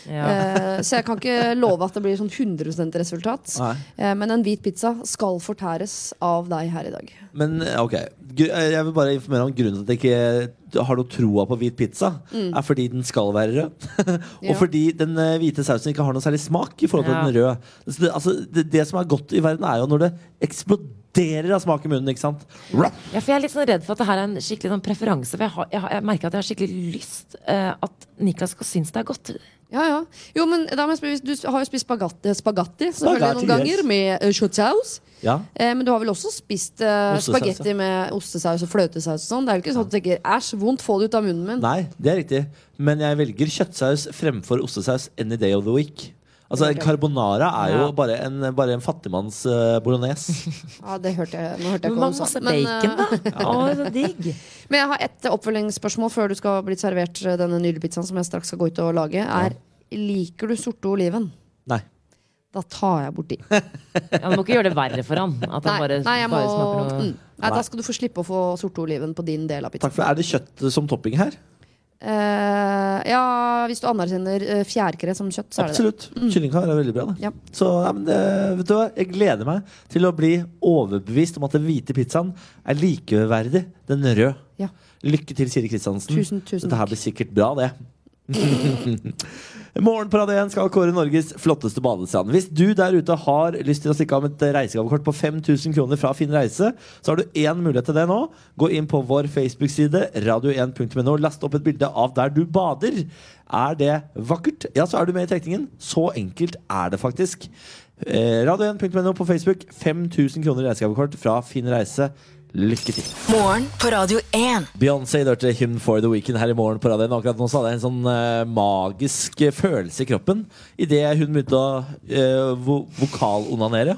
B: Ja.
F: Eh, så jeg kan ikke love at det blir sånn 100 resultat.
E: Nei.
F: Eh, men en hvit pizza skal fortæres av deg her i dag.
E: Men eh, ok, Gr- eh, jeg vil bare informere om grunnen til at jeg ikke eh, har noe troa på hvit pizza. Er fordi den skal være rød. og
F: Ja.
E: fordi den eh, hvite sausen ikke har noe særlig smak i forhold til
B: Ja.
E: den røde. Så det, altså, det, det som er godt i verden, er jo når det eksploderer av smak i munnen. ikke sant? Rap!
B: Ja, for jeg er litt sånn redd for at det her er en skikkelig sånn preferanse. For jeg, har, jeg, har, jeg merker at jeg har skikkelig lyst eh, at Niklas skal synes det er godt.
F: Ja, ja. Jo, men da må jeg spørre, hvis du har jo spist spagatti, spagatti selvfølgelig
E: Spagatti,
F: noen ganger
E: yes.
F: med uh, shotsaus.
E: Ja.
F: Eh, men du har vel også spist eh,
E: Ostesaus,
F: spagetti med ostesaus og fløtesaus og sånn? Det er jo ikke sånn at du tenker 'æsj, vondt, få det ut av munnen min'.
E: Nei, det er riktig. Men jeg velger kjøttsaus fremfor ostesaus any day of the week. Altså, en Carbonara er jo
B: Ja.
E: bare en, bare en fattigmanns eh, bolognese.
F: Ja, det hørte jeg, nå hørte
B: Men
F: jeg ikke hva
B: man må
F: du sa.
B: se
F: Men,
B: bacon,
F: eh,
B: da. Å, så digg.
F: men jeg har et eh, oppfølgingsspørsmål før du skal bli servert eh, denne nydelige pizzaen som jeg straks skal gå ut og lage. Er Liker du sorte oliven?
E: Nei.
F: Da tar jeg bort de.
B: Ja, du må ikke gjøre det verre for han. At han
F: Nei,
B: bare,
F: nei, jeg må,
B: bare smaker noe
F: mm. nei, da skal du få slippe å få sortoliven på din del av pizzaen.
E: Takk for det. Er det kjøtt som topping her?
F: Eh, ja, hvis du anerkjenner uh, fjærkre som kjøtt, så er det det.
E: Absolutt. Kyllingkar er veldig bra. Det.
F: Ja.
E: Så ja, men det, vet du hva? Jeg gleder meg til å bli overbevist om at den hvite pizzaen er likeverdig den røde.
F: Ja.
E: Lykke til, Siri Kristiansen.
F: Tusen, tusen
E: Dette her
F: takk.
E: blir sikkert bra, det. Morgen på Radio 1 skal kåre Norges flotteste badestrand. Hvis du der ute har lyst til å stikke av med et reisegavekort på 5000 kroner fra Finn Reise, så har du én mulighet til det nå. Gå inn på vår Facebook-side, radio1.no. Last opp et bilde av der du bader. Er det vakkert? Ja, så er du med i trekningen. Så enkelt er det faktisk. Eh, radio1.no på Facebook. 5000 kroner i reisegavekort fra Finn Reise. Lykke til.
D: Morgen på Radio 1.
E: Beyoncé hørte Hymn for the Weekend her i morgen på radioen. Akkurat nå så hadde jeg en sånn eh, magisk eh, følelse i kroppen idet hun begynte å eh, vo vokalonanere.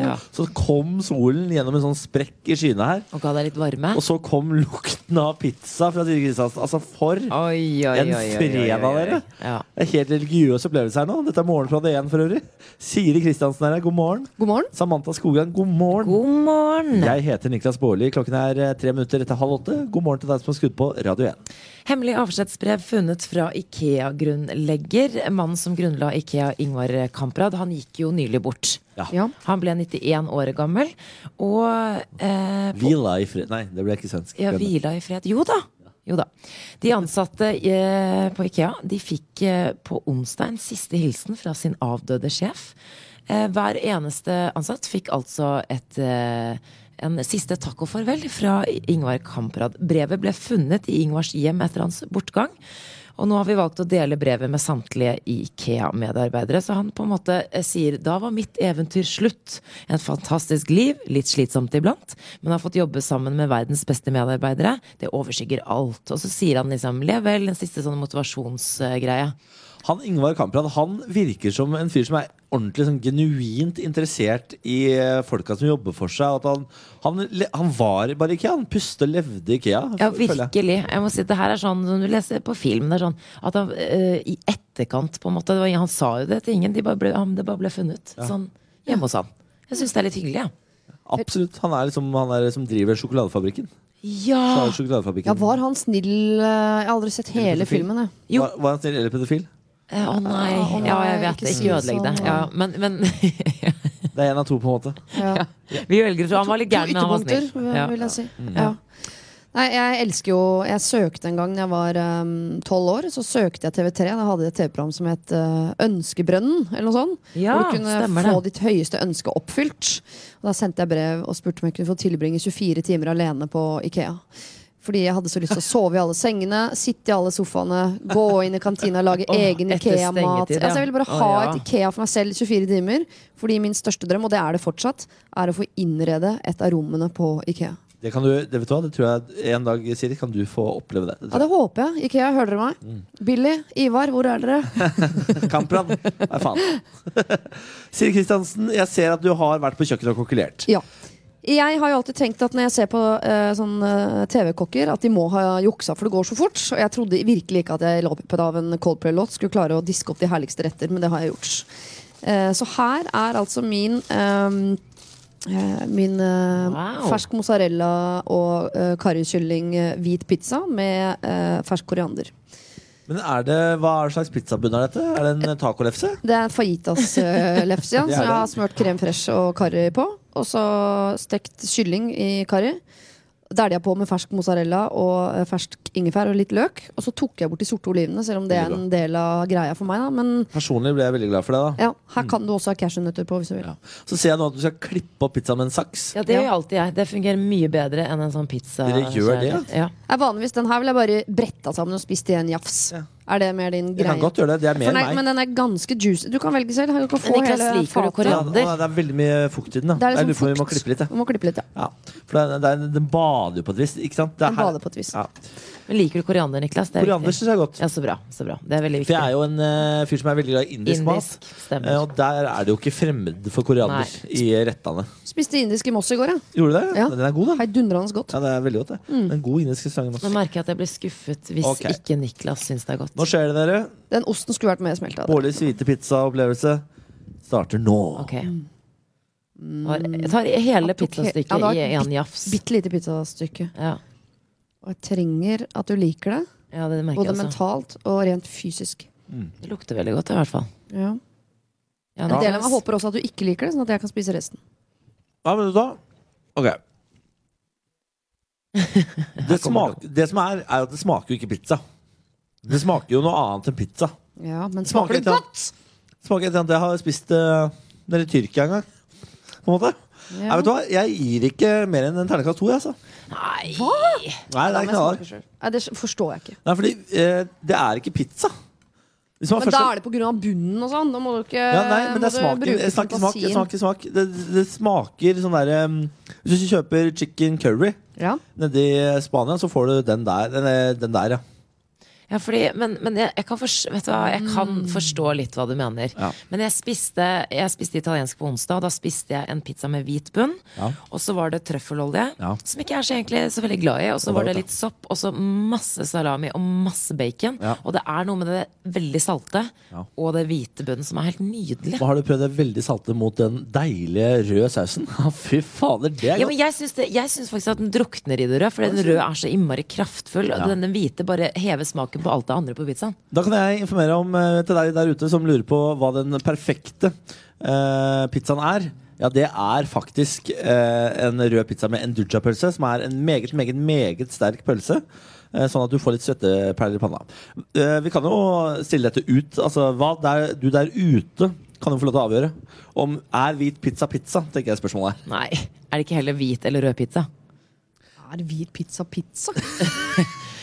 B: Ja.
E: Så kom solen gjennom en sånn sprekk i skyene her.
B: Og ga deg litt varme.
E: Og så kom lukten av pizza fra Siri Kristiansen. Altså, for
B: Oi, oi, oi,
E: en
B: oi, oi, oi,
E: fredag,
B: oi.
E: dere!
B: Ja.
E: Det er helt religiøs opplevelse her nå. Dette er morgen fra D1 for øvrig. Siri Kristiansen er her, god morgen.
F: God morgen.
E: Samantha Skogran, god morgen.
B: God morgen!
E: Jeg heter Niklas Baarli. Klokken er eh, tre minutter etter halv åtte. God morgen til deg som har skrudd på Radio 1.
B: Hemmelig avskjedsbrev funnet fra Ikea-grunnlegger. Mannen som grunnla Ikea, Ingvar Kamprad, han gikk jo nylig bort.
F: Ja.
B: Han ble 91 år gammel. Og eh,
E: Hvila i fred Nei, det ble ikke svensk.
B: Ja,
E: Glem det.
B: hvila i fred. Jo da. Jo da. De ansatte eh, på Ikea de fikk eh, på onsdag en siste hilsen fra sin avdøde sjef. Eh, hver eneste ansatt fikk altså et eh, en siste takk og farvel fra Ingvar Kamprad. Brevet ble funnet i Ingvars hjem etter hans bortgang. Og nå har vi valgt å dele brevet med samtlige Ikea-medarbeidere. Så han på en måte eh, sier da var mitt eventyr slutt. En fantastisk liv, litt slitsomt iblant, men har fått jobbe sammen med verdens beste medarbeidere. Det overskygger alt. Og så sier han liksom lev vel, en siste sånn motivasjonsgreie.
E: Han Ingvar Kamprad han virker som en fyr som er ordentlig sånn genuint interessert i eh, folka som jobber for seg. og At han, han, le- han var bare IKEA. Han puste og levde IKEA.
B: Ja,
E: føler jeg.
B: virkelig. Jeg må si, det her er sånn som du leser på film. Det er sånn at han eh, i etterkant, på en måte det var, Han sa jo det til ingen, de bare ble, han, det bare ble funnet. Sånn hjemme hos han. Jeg syns det er litt hyggelig, jeg.
E: Absolutt. Han er liksom han er som driver sjokoladefabrikken.
B: Ja.
E: Så er det sjokoladefabrikken.
F: Ja, var han snill? eh, Jeg har aldri sett hele
E: pedofil?
F: filmen, jeg.
B: Jo.
E: Var, var han snill eller pedofil?
B: Eh, Å nei.
F: Å nei,
B: Ja, jeg vet
F: ikke
B: det.
F: si
B: Ikke ødelegg det.
F: sånn.
B: Ja, men, men
E: Det er én av to, på en måte.
F: Ja.
B: vi velger å tro han var litt gæren, men han var
F: ytterpunkter,
B: snill. Ja.
F: vil jeg si. Ja. Nei, jeg elsker jo Jeg søkte en gang da jeg var ehm, tolv år, så søkte jeg TV3. Da hadde jeg et TV-program som het eh, Ønskebrønnen, eller noe sånt.
B: Ja,
F: hvor du kunne
B: stemmer
F: få
B: det.
F: ditt høyeste ønske oppfylt. Og da sendte jeg brev og spurte om jeg kunne få tilbringe 24 timer alene på Ikea. Fordi jeg hadde så lyst til å sove i alle sengene, sitte i alle sofaene, gå inn i kantina, lage
B: Åh,
F: egen
B: etter
F: Ikea-mat.
B: stengetid, ja.
F: Altså, jeg ville bare
B: Å,
F: ha
B: ja.
F: et Ikea for meg selv 24 timer. Fordi min største drøm, og det er det fortsatt, er å få innrede et av rommene på Ikea.
E: Det kan du, det vet du hva, det tror jeg en dag, Siri, kan du få oppleve det. det
F: Ja,
E: tror
F: det håper jeg. Ikea, hører dere meg?
B: Mm.
F: Billy, Ivar, hvor er dere?
E: jeg. Kamprad. Nei, faen. Siri Kristiansen, jeg ser at du har vært på kjøkkenet og kokkelert.
F: Ja. Jeg har jo alltid tenkt at når jeg ser på eh, sånn eh, TV-kokker, at de må ha juksa, for det går så fort. Og jeg trodde virkelig ikke at jeg i løpet av en Coldplay-låt skulle klare å diske opp de herligste retter, men det har jeg gjort. Eh, så her er altså min ehm, eh, Min eh,
B: Wow.
F: fersk mozzarella og eh, karrikylling eh, hvit pizza med eh, fersk koriander.
E: Men er det, hva er slags pizzabunn er dette? Er det en eh, tacolefse?
F: Det er en fajitas-lefse ja,
E: Det er
F: som jeg
E: det.
F: har smurt krem fresh og karri på. Og så stekt kylling i karri. Dælja på med fersk mozzarella og eh, fersk ingefær og litt løk. Og så tok jeg bort de sorte olivene, selv om det er en del av greia for meg. Da. Men
E: Personlig ble jeg veldig glad for det. da
F: ja, her kan du også ha cashewnøtter på hvis du vil.
E: Mm. ja. Så ser jeg nå at du skal klippe opp pizza med en saks.
B: Ja, det gjør alltid jeg. Det fungerer mye bedre enn en sånn pizza.
E: Dere gjør det,
B: Ja.
F: Nei, vanligvis den her vil jeg bare bretta sammen og spist i en jafs. Er det mer din
E: Jeg
F: greie?
E: kan godt gjøre det. Det er mer
F: For nei,
E: enn meg.
F: men den er ganske juicy. Du kan velge selv. Du kan få
B: Niklas,
F: hele
B: liker du
F: fatet.
E: Ja,
B: koriander?
E: å, det er veldig mye fukt i den. da
F: Det er
E: Jeg
F: liksom
E: lurer på om vi må
F: fukt.
E: klippe litt. Ja.
F: Vi må klippe litt, ja.
E: Ja. For den, den, den bader jo på et vis. Ikke sant? Det er
F: Den
E: her-
F: bader på et vis.
E: Ja.
B: Men liker du koriander, Niklas? Det er
E: Koriander
B: viktig.
E: syns jeg er godt.
B: Ja, så bra. Så bra. Det er veldig
E: For
B: viktig.
E: jeg er jo en eh, fyr som er veldig glad i indisk,
B: Indisk,
E: mat.
B: stemmer.
E: Eh, og der er det jo ikke fremmed for koriander
B: Nei.
E: i rettene.
F: Spiste indisk i Moss i går, ja.
E: Gjorde du det?
F: Ja.
E: Den er god, da.
F: Heidundrende godt. Mm.
E: Ja, det er veldig godt, det. En god indisk restaurant.
B: Nå
E: også.
B: merker jeg at jeg blir skuffet hvis
E: Ok.
B: ikke Niklas syns det er godt.
E: Nå skjer det, dere.
F: Den osten skulle vært mer smelta.
E: Bårlis hvite pizza-opplevelse. starter nå.
B: Ok. Tar, jeg tar hele
F: tok he-
B: pizzastykket
F: Mm. Ja, det var
B: i
F: et
B: én jafs.
F: Bitte lite pizzastykke.
B: Ja.
F: Og jeg trenger at du liker det.
B: ja, det merker
F: Både
B: jeg også.
F: mentalt og rent fysisk.
B: Det lukter veldig godt, i hvert fall.
F: Ja.
B: Ja,
F: En
B: nå-
F: del av meg håper også at du ikke liker det, sånn at jeg kan spise resten.
E: Hva mener du da? Ok. Det, smak, det som er, er at det smaker jo ikke pizza. Det smaker jo noe annet enn pizza.
F: Ja, men
E: Smaker
F: smaker
E: litt
F: det godt?
E: Smaker etter at jeg har spist uh, nede i Tyrkia en gang. På en måte. Nei, vet du hva? Jeg gir ikke mer enn en terningkast to. Jeg, altså.
B: Nei!
E: Nei, det er ikke noe annet.
F: Nei, det forstår jeg ikke.
E: Nei, fordi eh, det er ikke pizza. Hvis man
F: Men da
E: først-
F: er det på grunn av bunnen og sånn. Da må du ikke
E: ja, nei, men det er
F: må du
E: smaken.
F: bruke
E: Jeg snakker smak. Jeg
F: fantasien.
E: snakker smak. Det, det smaker sånn derre Hvis du kjøper chicken curry
F: Ja.
E: nede i Spania, så får du den der. Den, eh, den der, ja.
B: Ja, fordi, men men jeg, jeg, kan forstå, vet du, hva, jeg kan forstå litt hva du mener.
E: Mm. Ja.
B: Men jeg spiste, jeg spiste italiensk på onsdag, og da spiste jeg en pizza med hvit bunn.
E: Ja.
B: Og så var det trøffelolje,
E: Ja.
B: som ikke jeg er så, egentlig, så veldig glad i. Og så
E: var
B: var det
E: godt,
B: litt sopp, og så masse salami og masse bacon.
E: Ja.
B: Og det er noe med det veldig salte
E: Ja.
B: og det hvite bunnen som er helt nydelig.
E: Nå har du prøvd det veldig salte mot den deilige røde sausen. Ja, Fy fader, det er
B: Ja,
E: godt.
B: men jeg syns, det, jeg syns faktisk at den drukner i det røde, for den røde er så innmari kraftfull. Og den hvite bare hever smaken på alt det andre på pizzaen.
E: Da kan jeg informere om eh, til deg der ute som lurer på hva den perfekte eh, pizzaen er. Ja, det er faktisk eh, en rød pizza med enduja-pølse, som er en meget, meget, meget sterk pølse. eh, sånn at du får litt svetteperler i panna. Eh, vi kan jo stille dette ut. Altså, hva der, du der ute kan jo få lov til å avgjøre. Om er hvit pizza pizza, tenker jeg spørsmålet er.
B: Nei, er det ikke heller hvit eller rød pizza?
F: Er hvit pizza pizza?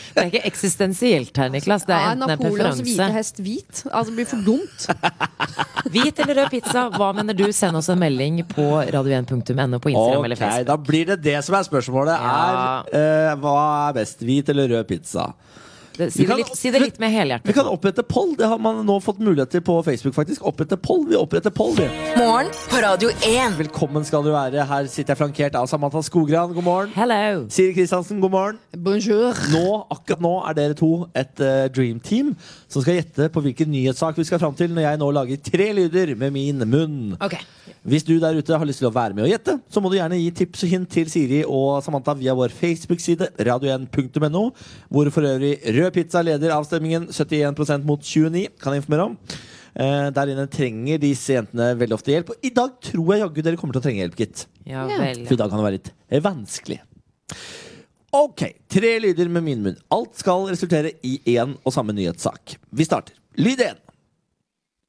B: Det er ikke eksistensielt her, Niklas. Det er
F: Er
B: enten en
F: Napoleons hvite
B: preferanse.
F: hest hvit? Altså, det blir for dumt.
B: Hvit eller rød pizza, hva mener du? Send oss en melding på radio1.no på Instagram eller
E: Ok,
B: Facebook.
E: Da blir det det som er spørsmålet.
B: Ja.
E: Er, eh, hva er best, hvit eller rød pizza?
B: Det- Si
E: Vi
B: det
E: kan-
B: litt, si det litt med
E: Vi
B: helhjertet.
E: kan opprette poll. Det har man nå fått mulighet til på Facebook. faktisk Opprette poll, Vi oppretter poll, vi.
D: Morgen på Radio 1.
E: Velkommen skal du være. Her sitter jeg flankert av Samantha Skogran. God morgen.
B: Hello!
E: Siri Kristiansen, god morgen.
F: Bonjour.
E: Nå, akkurat nå er dere to et eh, dream team som skal gjette på hvilken nyhetssak vi skal fram til når jeg nå lager tre lyder med min munn. Hvis du der ute har lyst til å være med og gjette, så må du gjerne gi tips og hint til Siri og Samantha via vår Facebook-side, radio1.no, hvor for øvrig Rød Pizza leder avstemningen 71 mot 29, kan jeg informere om. Eh, der inne trenger disse jentene veldig ofte hjelp. Og i dag tror jeg jaggu dere kommer til å trenge hjelp, gitt.
B: Ja
F: Ja.
B: vel.
E: For i dag kan det være litt eh, vanskelig. Ok, tre lyder med min munn. Alt skal resultere i én og samme nyhetssak. Vi starter. Lyd én.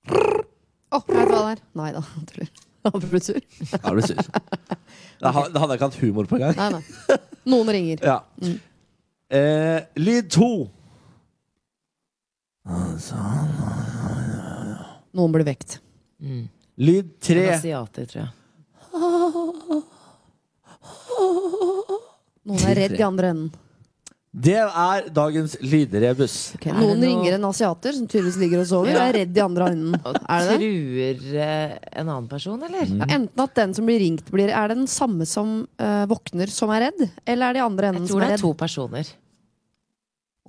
F: Å, vet du hva det er? Nei da, tuller. Apropos.
E: Da ble du sur. Da ha- da hadde jeg ikke hatt humor på engang.
F: Nei, nei. Noen ringer.
E: Ja. Eh, lyd to.
F: Noen blir vekt.
E: Lyd
B: En
E: tre.
B: asiater, tror jeg.
F: Noen er redd i andre enden.
E: Det er dagens lydrebus.
F: Ok,
B: Er det
F: Noen
B: noe-
F: ringer en asiater som tydeligvis ligger og sover, og
B: Ja.
F: er redd i andre enden. Er det det?
B: Truer eh, en annen person, eller?
E: Mm.
F: Ja, enten at den som blir ringt, blir Er det den samme som eh, våkner, som er redd? Eller er det i andre
B: Jeg
F: enden
B: tror
F: som
B: det
F: er
B: er
F: redd?
B: to personer.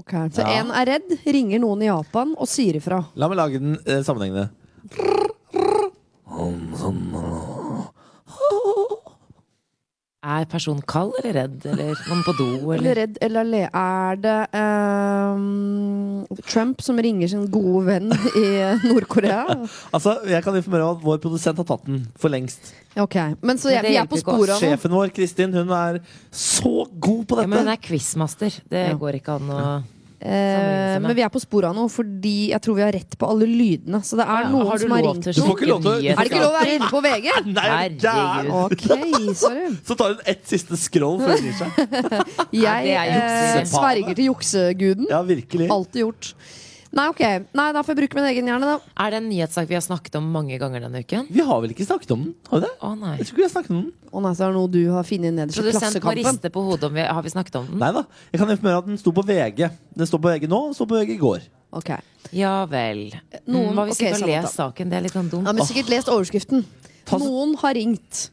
F: Ok, Så
E: Ja.
F: én er redd, ringer noen i Japan og sier ifra.
E: La meg lage den eh, sammenhengende.
B: Er personen kald eller redd? Eller noen på do?
F: Eller
B: Eller?
F: redd, eller le. Er det eh, Trump som ringer sin gode venn i Nord-Korea?
E: Altså, Jeg kan informere om at vår produsent har tatt den for lengst.
F: Ok, Men så jeg,
B: Men det
F: vi er på
B: hjelper ikke
F: sporet av noe.
E: Sjefen vår, Kristin, hun er så god på
B: Ja, men hun
E: dette.
B: er quizmaster. Det
F: Ja.
B: går ikke an å
F: Eh, men vi er på sporet av noe fordi jeg tror vi har rett på alle lydene. Så det er
B: Ja,
F: noen
B: har du
F: som har
B: lov
F: ringt
B: til å
E: Du får
B: sjekke
E: ikke lov til å- du
B: nyheter?
F: Er det ikke lov å være inne på VG?
E: Nei, er du gæren?
B: Herregud.
F: Ok, sorry.
E: Så tar hun ett siste scroll før hun gir seg.
B: Ja,
F: Jeg
B: det er
F: eh,
B: juksing.
F: sverger til jukseguden.
E: Ja, virkelig.
F: Alltid gjort. Nei, ok. Nei, da får jeg bruke min egen hjerne, da.
B: Er det en nyhetssak vi har snakket om mange ganger denne uken?
E: Vi har vel ikke snakket om den? Har vi det?
B: Å nei.
E: Jeg tror ikke vi har snakket om den.
F: Å nei, så er det noe du har funnet nederst i
B: Produsent må
F: Klassekampen.
B: riste på hodet om vi har vi snakket om den.
E: Nei da. Jeg kan informere om at den sto på VG. Den står på VG nå, den står på VG i går.
F: Ok.
B: Ja vel.
E: Mm,
F: Noen-
B: Noen, Hva hvis
F: ok,
B: ikke har
F: Samantha.
B: lest saken? Det er litt sånn dumt.
F: Ja,
B: Ja,
F: men sikkert lest overskriften.
E: Ta så-
F: Noen har ringt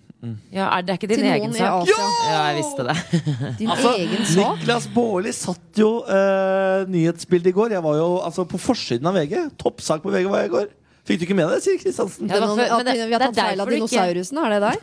B: er det ikke
F: til
B: din egen
F: noen i
B: sak?
F: Asia.
B: Ja, jeg visste det.
F: Din egen sak.
E: Niklas Baarli satt jo eh, nyhetsbildet i går. Jeg var jo altså, på forsiden av VG. Toppsak på VG var jeg i går. Fikk du ikke med deg Siri Kristiansen?
B: Ja, det var
F: Noen-
B: før-
F: at
B: men det-
F: vi har
B: det er
F: tatt feil av
B: derfor du ikke-
F: dinosaurusene, er det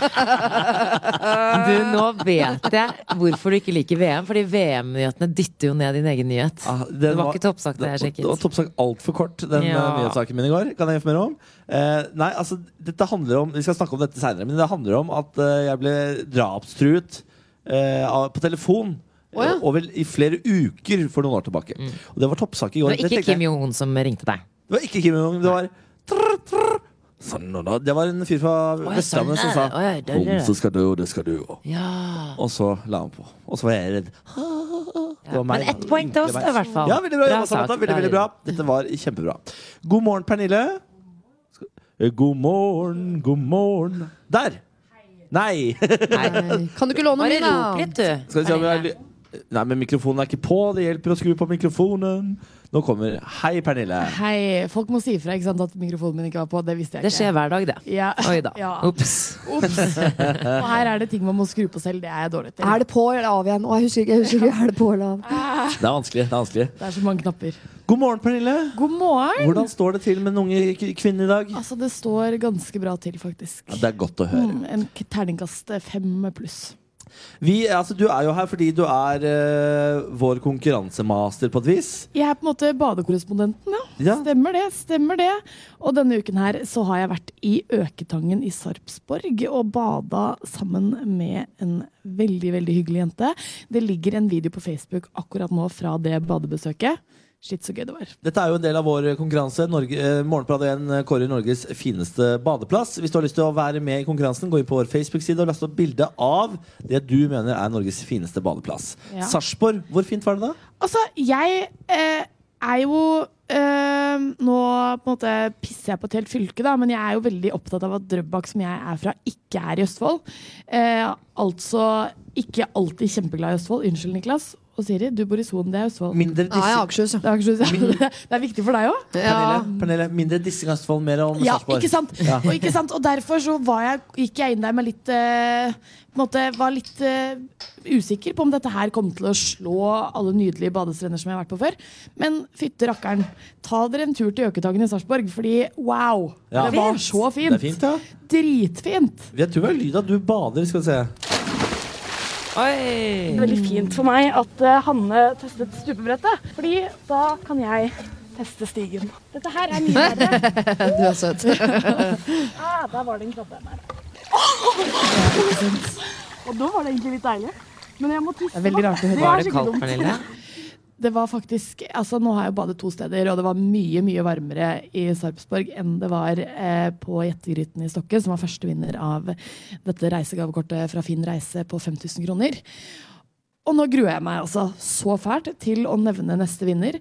F: deg?
B: Du, nå vet jeg hvorfor du ikke liker VM. Fordi VM-nyhetene dytter jo ned din egen nyhet.
E: Ah, den
B: det var ikke toppsak det jeg
E: Det
B: sjekket.
E: var toppsak altfor kort, den
B: Ja.
E: eh, nyhetssaken min i går. Kan jeg informere om? Eh, nei, altså, dette handler om Vi skal snakke om dette seinere, men det handler om at eh, jeg ble drapstruet eh, av- på telefon.
F: Å, ja.
E: eh, Over i flere uker for noen år tilbake. Og det var toppsak i går.
B: Mm. Det var ikke
E: Det tenkte jeg-
B: Kim Jong-un som ringte deg.
E: det var ikke Kim Jong-un. Det var trr, trr. Sånn, og da- Det var en fyr fra
B: ja,
E: Vestlandet som
B: sånn
E: sa
B: er det. Å, ja, det er det.
E: 'Homse skal dø, det skal du òg'.
B: Ja.
E: Og så la han på. Og så var jeg redd. Det var meg.
B: Men ett poeng til oss, da, i hvert fall.
E: Ja, veldig bra, jobba,
B: sak.
E: Samantha. Veldig, veldig bra. Dette var kjempebra. God morgen, Pernille. Skal- eh, God morgen, god morgen. Der! Nei!
F: Nei. Kan du ikke låne
B: Bare
F: min,
B: rop
F: da?
B: litt, du.
E: Skal vi se om vi har ly- Nei, men mikrofonen er ikke på. Det hjelper å skru på mikrofonen. Nå kommer Hei, Pernille.
C: Hei, folk må si ifra ikke sant, at mikrofonen min ikke var på. Det visste jeg
B: Det skjer
C: ikke.
B: hver dag, det.
C: Ja.
B: Oi da.
C: Ja.
B: Ops.
C: Ops. Og her er det ting man må skru på selv. Det er jeg dårlig til.
F: Er det på eller av igjen? Å, jeg husker ikke. Jeg husker ikke. Er det på eller av?
E: Det er vanskelig. det er vanskelig
C: Det er så mange knapper.
E: God morgen, Pernille.
C: God morgen!
E: Hvordan står det til med den unge k- kvinnen i dag?
C: Altså, det står ganske bra til, faktisk.
E: Ja, det er godt å høre.
C: Mm, En k- terningkast fem pluss.
E: Vi, altså, du er jo her fordi du er eh, vår konkurransemaster på et vis.
C: Jeg er på en måte badekorrespondenten, ja.
E: Ja.
C: Stemmer det. stemmer det. Og denne uken her så har jeg vært i Øketangen i Sarpsborg og bada sammen med en veldig, veldig hyggelig jente. Det ligger en video på Facebook akkurat nå fra det badebesøket. Shit, så gøy det var.
E: Dette er jo en del av vår konkurranse. Norge, eh, Morgenbladet 1 eh, kårer Norges fineste badeplass. Hvis du har lyst til å være med i konkurransen, gå inn på vår Facebook-side og last opp bilde av det du mener er Norges fineste badeplass.
C: Ja.
E: Sarpsborg, hvor fint var det da?
C: Altså, jeg eh, er jo eh, Nå på en måte pisser jeg på et helt fylke, da, men jeg er jo veldig opptatt av at Drøbak, som jeg er fra, ikke er i Østfold. Eh, altså ikke alltid kjempeglad i Østfold. Unnskyld, Niklas. Og Siri, du bor i Son, det er Østfold.
E: Mindre
F: Nei,
E: dissing,
F: Akershus.
C: Det er, ikke så- det er viktig for deg òg?
F: Ja.
E: Pernille, Pernille, mindre dissing av Østfold, mer om
C: Ja,
E: Sarpsborg.
C: ikke sant? Og, ikke sant? og derfor så var jeg, gikk jeg inn der med litt eh, på en måte, Var litt eh, usikker på om dette her kom til å slå alle nydelige badestrender som jeg har vært på før. Men fytte rakkeren, ta dere en tur til Øketangen i Sarpsborg, fordi wow!
E: Ja.
C: Det var så
E: Det
C: fint!
E: er fint, ja.
C: Dritfint!
E: Jeg tror det er lyd av at du bader, skal vi se.
B: Oi.
G: veldig fint for meg at eh, Hanne testet stupebrettet. Fordi da kan jeg teste stigen. Dette her er mye verre.
F: Du er søt.
G: Ah, der var det en krabbe. Der. Og da var det egentlig litt deilig. Men jeg må tisse.
C: Det er veldig rart å høre.
B: Var det kaldt, Pernille?
C: Det var faktisk, altså Nå har jeg jo badet to steder, og det var mye mye varmere i Sarpsborg enn det var eh, på Jettegryten i Stokke, som var førstevinner av dette reisegavekortet fra Finn reise på 5000 kroner. Og nå gruer jeg meg altså så fælt til å nevne neste vinner.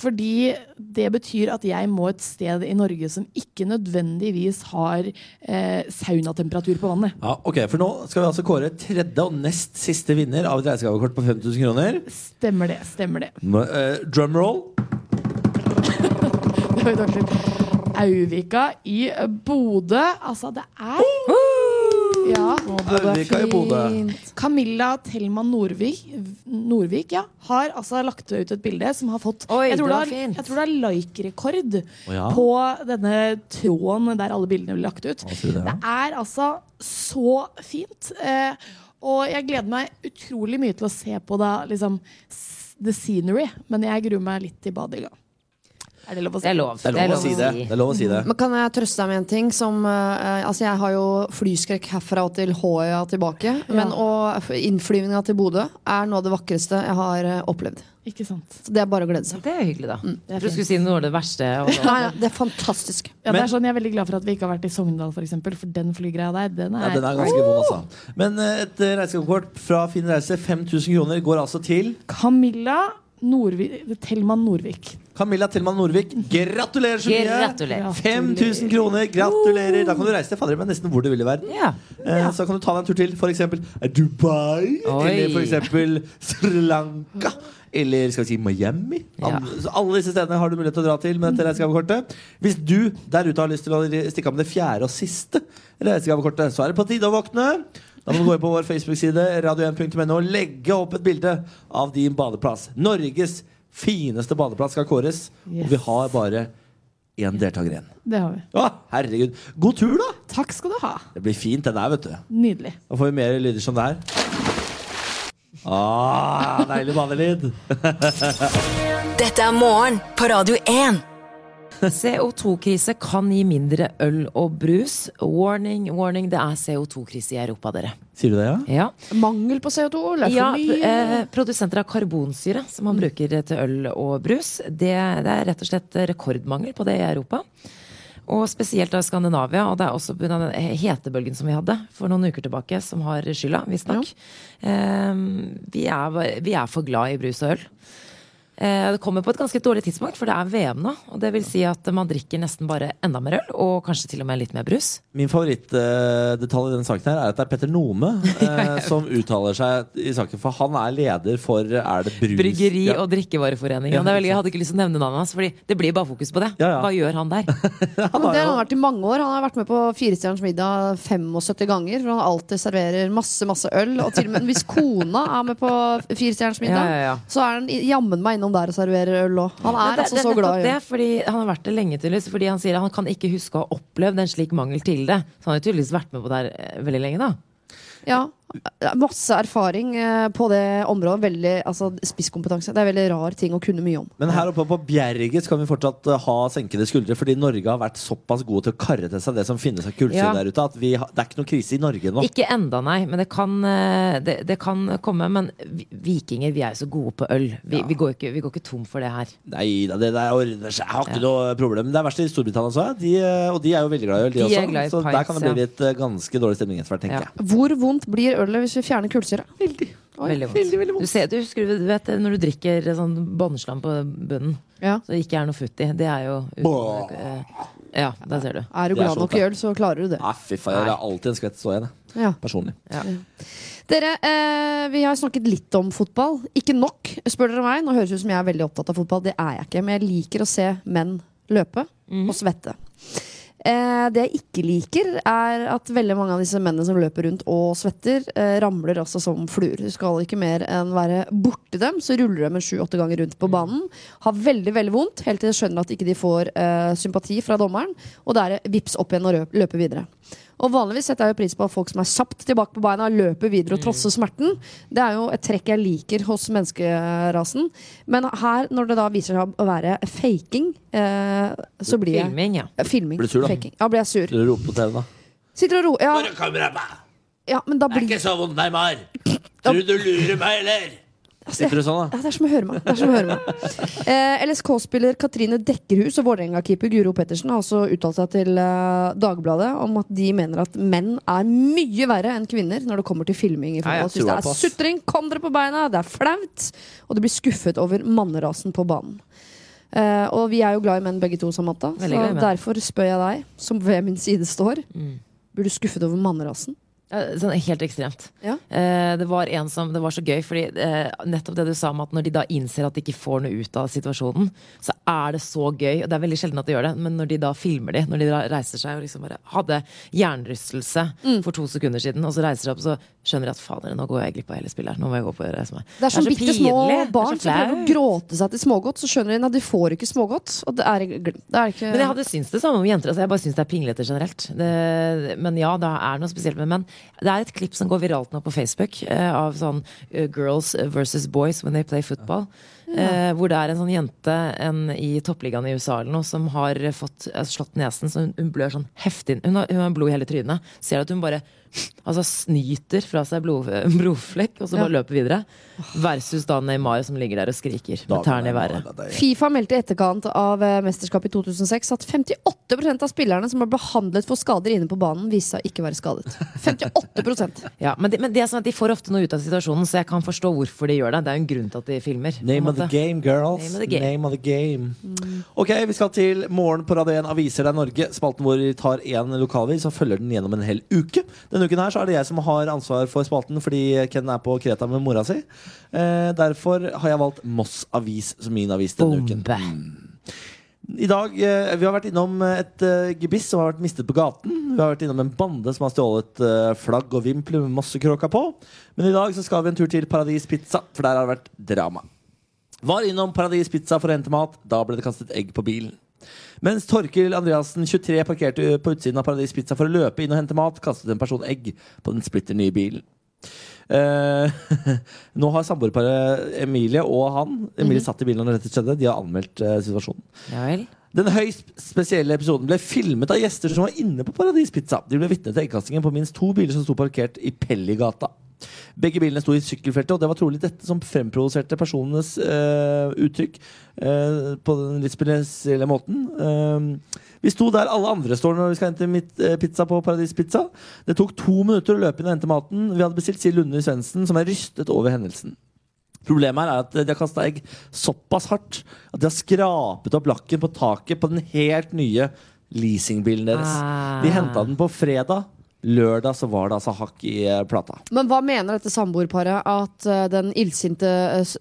C: Fordi det betyr at jeg må et sted i Norge som ikke nødvendigvis har eh, saunatemperatur på vannet.
E: Ja, ok, For nå skal vi altså kåre tredje og nest siste vinner av et reisegavekort på 5000 kroner.
C: Stemmer det. stemmer det.
E: Nå, eh, drum roll.
C: Det var jo dårlig. Auvika i Bodø. Altså, det er Ja.
E: Aurvika i Bodø.
C: Camilla Thelma Norvik, Norvik ja, har altså lagt ut et bilde som har fått
B: Oi,
C: Jeg tror
B: det
C: det
B: var
C: har-
B: fint.
C: jeg tror det er like-rekord
E: Å, ja.
C: på denne tråden der alle bildene blir lagt ut.
E: sier du det, ja?
C: Det er altså så fint. Eh, og jeg gleder meg utrolig mye til å se på da, liksom, s- the scenery, men jeg gruer meg litt til badet i gang. Er det lov å si?
B: Det er lov.
E: Det er lov å si det. det, er lov å si det.
F: Men Kan jeg trøste deg med en ting? Som, eh, altså jeg har jo flyskrekk herfra og til Håøya tilbake. Men og innflyvninga til Bodø er noe av det vakreste jeg har eh, opplevd.
C: Ikke sant?
F: Så det er bare å glede seg.
B: Mm, Det er hyggelig, da. Jeg tror du skulle si noe av det verste. Og
F: Nei, ja, det er fantastisk.
C: Ja, det er sånn, jeg er veldig glad for at vi ikke har vært i Sogndal, for, eksempel, for den flygreia der, den er,
E: Ja, den er ganske vond, altså. Men eh, et eh, reisegavekort fra Finn Reise, 5000 kroner, går altså til
C: Camilla Norvik, Thelma Norvik.
E: Camilla Thelman Norvik. Gratulerer så mye!
B: Gratulerer.
E: 5000 kroner, gratulerer! Da kan du reise til fader, men nesten hvor du vil i verden.
B: Ja.
E: Eh, Så kan du ta deg en tur til f.eks. Dubai,
B: Oi.
E: eller f.eks. Sri Lanka. Eller skal vi si Miami?
B: Ja.
E: Andre- så Alle disse stedene har du mulighet til å dra til med dette reisegavekortet. Hvis du der ute har lyst til å re- stikke av med det fjerde og siste reisegavekortet, så er det på tide å våkne. Da må du gå inn på vår Facebook-side radio1.no og legge opp et bilde av din badeplass. Norges fineste badeplass skal kåres, og vi har bare én deltaker igjen.
C: Det har vi.
E: Å, herregud. God tur, da!
C: Takk skal du ha.
E: Det blir fint, den der, vet du.
C: Nydelig.
E: Da får vi mer lyder som det her. Ah, deilig banelyd.
D: Dette er morgen på Radio 1.
B: CO2-krise kan gi mindre øl og brus. Warning, warning, det er CO2-krise i Europa, dere.
E: Sier du det, ja?
B: Ja.
F: Mangel på CO2. Eller for
B: Ja,
F: mye. Mm.
B: eh, produsenter av karbonsyre, som man bruker til øl og brus, det, det er rett og slett rekordmangel på det i Europa. Og spesielt av Skandinavia, og det er også pga. den hetebølgen som vi hadde for noen uker tilbake, som har skylda, visstnok. Eh, vi, er bare- vi er for glad i brus og øl. Eh, det kommer på et ganske dårlig tidspunkt, for det er VM nå. Og det vil si at man drikker nesten bare enda mer øl, og kanskje til og med litt mer brus.
E: Min favorittdetalj i denne saken her er at det er Petter Nome eh, som uttaler seg i saken. For han er leder for Er det brus?
B: Bryggeri-
E: Ja.
B: og drikkevareforeningen.
E: Ja,
B: det
E: ikke
B: er veldig,
E: sant.
B: jeg hadde ikke lyst til å nevne navnet hans, Fordi det blir bare fokus på det.
E: Ja, ja.
B: Hva gjør han der?
F: Men det har han vært i mange år. Han har vært med på Firestjerners middag 75 ganger. For han alltid serverer masse masse øl. Og til og med hvis kona er med på Firestjerners middag,
B: Ja, ja, ja.
F: så er han i- jammen meg innom der og serverer øl òg. Han
B: Men
F: er
B: det-
F: altså
B: det er
F: så
B: nettopp
F: glad i øl.
B: det, fordi Han har vært det lenge, tydeligvis. Fordi han sier at han kan ikke huske å ha opplevd en slik mangel til det. Så han har jo tydeligvis vært med på det her eh, veldig lenge, da.
F: Ja. Masse erfaring eh, på det området. Veldig, altså, spisskompetanse. Det er veldig rar ting å kunne mye om.
E: Men her oppe på Bjerget så kan vi fortsatt eh, ha senkede skuldre, fordi Norge har vært såpass gode til å karre til seg det som finnes av kullsyre
B: Ja.
E: der ute, at vi har, det er ikke noe krise i Norge nå.
B: Ikke enda, nei. Men det kan, eh, det, det kan komme. Men vi- vikinger, vi er jo så gode på øl. Vi, vi, går ikke, vi går ikke tom for det her.
E: Nei da, det der ordner seg. Jeg har ikke noe problem. Det er verst i Storbritannia også, ja. de, eh, og de er jo veldig glad i øl, de,
B: De er
E: også.
B: glad i
E: så der
B: pints,
E: kan det bli
B: ja.
E: litt eh, ganske dårlig stemning etter hvert, tenker
B: Ja.
E: jeg.
F: Hvor vondt blir ølet hvis vi fjerner kullsyre? Veldig.
B: Veldig vondt. Du, ser, du husker du vet, det, når du drikker eh, sånn båndslam på bunnen,
F: Ja.
B: så det ikke er noe futt i. Det er jo
E: Bå.
B: eh, Ja, der ser du.
E: Det
F: Er du
E: er
F: glad
E: så
F: nok i øl, så klarer du det.
E: Nei, fy faen, det er alltid en skvett så igjen, jeg.
F: Ja.
E: Personlig.
F: Dere, eh, vi har snakket litt om fotball. Ikke nok, spør dere meg. Nå høres det ut som jeg er veldig opptatt av fotball. Det er jeg ikke. Men jeg liker å se menn løpe
B: Mhm.
F: og svette. Eh, det jeg ikke liker, er at veldig mange av disse mennene som løper rundt og svetter, eh, ramler altså som fluer. Du skal ikke mer enn være borti dem, så ruller de en sju-åtte ganger rundt på banen. Har veldig veldig vondt, helt til de skjønner at ikke de får eh, sympati fra dommeren. Og da er det vips opp igjen og røp- løpe videre. Og vanligvis setter jeg jo pris på at folk som er kjapt tilbake på beina, løper videre og trosser smerten. Det er jo et trekk jeg liker hos menneskerasen. Men her, når det da viser seg å være faking, eh, så blir jeg
B: Filming, ja.
F: Eh, Filming.
E: Blir du sur, da?
F: Faking. Ja, blir jeg sur.
E: Du roper på TV, da.
F: Sitter og ro... Ja,
E: Det
F: ja men da blir
E: så vondt, Neymar! Tror du du lurer meg, eller? Sitter du sånn, da?
F: ja, det er som å høre meg. Det er som å høre meg. Eh, LSK-spiller Katrine Dekkerhus og Vålerenga-keeper Guro Pettersen har også uttalt seg til eh, Dagbladet om at de mener at menn er mye verre enn kvinner når det kommer til filming. i
E: Nei, jeg
F: fotball.
E: tror
F: Synes det
E: jeg på,
F: er
E: ass.
F: sutring, kom dere på beina, det er flaut, og de blir skuffet over mannerasen på banen. Eh, og vi er jo glad i menn begge to, Samantha,
B: Veldig
F: så
B: glad i menn.
F: derfor spør jeg deg, som ved min side står,
E: Mm.
F: blir du skuffet over mannerasen?
B: Ja, Sånn helt ekstremt.
F: Ja.
B: Eh, det var en som, det var så gøy, fordi eh, nettopp det du sa om at når de da innser at de ikke får noe ut av situasjonen, så er det så gøy. Og det er veldig sjelden at de gjør det, men når de da filmer de, når de da reiser seg og liksom bare hadde hjernerystelse
F: Mm.
B: for to sekunder siden, og så reiser de seg opp, så skjønner de at fader, nå går jeg glipp av hele spillet her. Nå må jeg gå på å reise meg.
F: Det er som bitte små
B: pinlig, det er så
F: barn som prøver å
B: flaut.
F: gråte seg til smågodt, så skjønner de at de får ikke smågodt. Og det er, glem- det er ikke
B: Men jeg hadde syntes det samme om jenter. Altså jeg bare syns det er pinglete generelt. Det, men ja, det er noe spesielt med menn. Det er et klipp som går viralt nå på Facebook, eh, av sånn eh, girls versus boys when they play football. Eh, hvor det er en sånn jente en, i toppligaen i USA eller noe som har eh, fått, eh, slått nesen, så hun, hun blør sånn heftig. Hun har, hun har blod i hele trynet. Ser at hun bare altså, snyter fra seg blod, eh, blodflekk, og så bare løper videre. Versus da Neymar som ligger der og skriker med tærne i været.
F: Fifa meldte i etterkant av eh, mesterskapet i 2006 at 58 av spillerne som ble behandlet for skader inne på banen, viste seg ikke være skadet. 58
B: Ja, men, det, men det er sånn at de får ofte noe ut av situasjonen, så jeg kan forstå hvorfor de gjør det. Det er jo en grunn til at de filmer. på en
E: Name of the
B: måte.
E: game, girls.
B: Name of the game.
E: Name of the game. Ok, Vi skal til Morgen på Radio 1 Aviser deg Norge. Spalten hvor vi tar én lokalavis og følger den gjennom en hel uke. Denne uken her så er det jeg som har ansvar for spalten fordi Ken er på Kreta med mora si. Eh, derfor har jeg valgt Moss Avis som min avis denne uken. Mm.
B: Bombe.
E: I dag, eh, Vi har vært innom et eh, gebiss som har vært mistet på gaten. Vi har vært innom en bande som har stjålet eh, flagg og vimpler med mossekråka på. Men i dag så skal vi en tur til Paradis Pizza, for der har det vært drama. Var innom Paradis Pizza for å hente mat. Da ble det kastet egg på bilen. Mens Torkil Andreassen, 23, parkerte på utsiden av Paradis Pizza for å løpe inn og hente mat, kastet en person egg på den splitter nye bilen. Eh, nå har samboerparet Emilie og han Emilie satt i bilen når dette skjedde. De har anmeldt eh, situasjonen.
B: Ja vel.
E: Den høyst spesielle episoden ble filmet av gjester som var inne på Paradis Pizza. De ble vitne til eggkastingen på minst to biler som sto parkert i Pelligata. Begge bilene sto i sykkelfeltet, og det var trolig dette som fremprovoserte personenes eh, uttrykk eh, på den litt spesielle måten. Eh, vi sto der alle andre står når vi skal hente mitt, eh, pizza på Paradis Pizza. Det tok to minutter å løpe inn og hente maten. Vi hadde bestilt Siv Lunde Svendsen, som er rystet over hendelsen. Problemet her er at de har kasta egg såpass hardt at de har skrapet opp lakken på taket på den helt nye leasingbilen deres.
B: Ah.
E: De henta den på fredag. Lørdag så var det altså hakk i eh, plata.
F: Men hva mener dette samboerparet? At eh, den illsinte eh, s-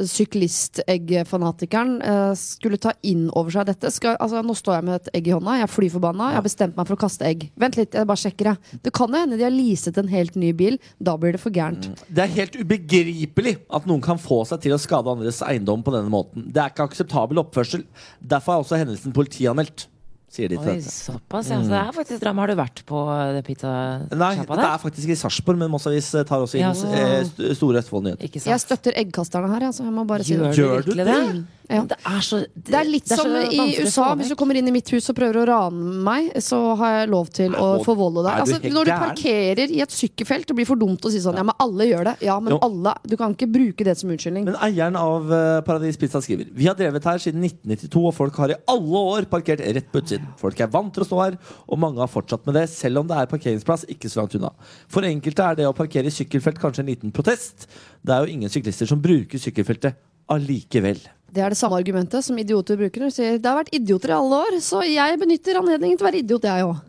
F: syklisteggfanatikeren eh, skulle ta inn over seg dette? Skal, altså, nå står jeg med et egg i hånda, jeg er fly forbanna, jeg har bestemt meg for å kaste egg. Vent litt, jeg bare sjekker, jeg. Det kan jo hende de har leaset en helt ny bil. Da blir det for gærent.
E: Det er helt ubegripelig at noen kan få seg til å skade andres eiendom på denne måten. Det er ikke akseptabel oppførsel. Derfor er også hendelsen politianmeldt, sier de til
B: Oi,
E: dette. Mm.
B: såpass, ja. Så det er faktisk drama. Har du vært på det
E: Nei,
B: pizzasjappa
E: dette
B: der?
E: er faktisk i Sarpsborg, men Moss Avis tar også inn
B: Ja, så-
E: eh, st- Store Østfold Nyheter.
B: Ikke
F: Jeg
B: sant?
F: støtter eggkasterne her, altså, jeg må bare si det.
B: Gjør du
E: Gjør du
B: virkelig det?
E: det?
F: Ja.
B: Det er så det,
F: Det er litt
B: så
F: som i
B: vanskelig å
F: USA.
B: få
F: Hvis du
B: vekk.
F: kommer inn i mitt hus og prøver å rane meg, så har jeg lov til å
E: Nei, og-
F: forvolde deg.
E: er du
F: Altså,
E: helt
F: når du
E: gæren?
F: parkerer i et sykkelfelt, det blir for dumt å si sånn Ja, men alle gjør det. Ja, men
E: Jo.
F: alle Du kan ikke bruke det som unnskyldning.
E: Men eieren av eh, Paradis Pizza skriver Vi har drevet her siden 1992, og folk har i alle år parkert rett på utsiden. Folk er vant til å stå her, og mange har fortsatt med det, selv om det er parkeringsplass ikke så langt unna. For enkelte er det å parkere i sykkelfelt kanskje en liten protest. Det er jo ingen syklister som bruker sykkelfeltet allikevel.
F: Det er det samme argumentet som idioter bruker. når de Sier, det har vært idioter i alle år, så jeg benytter anledningen til å være idiot, jeg òg.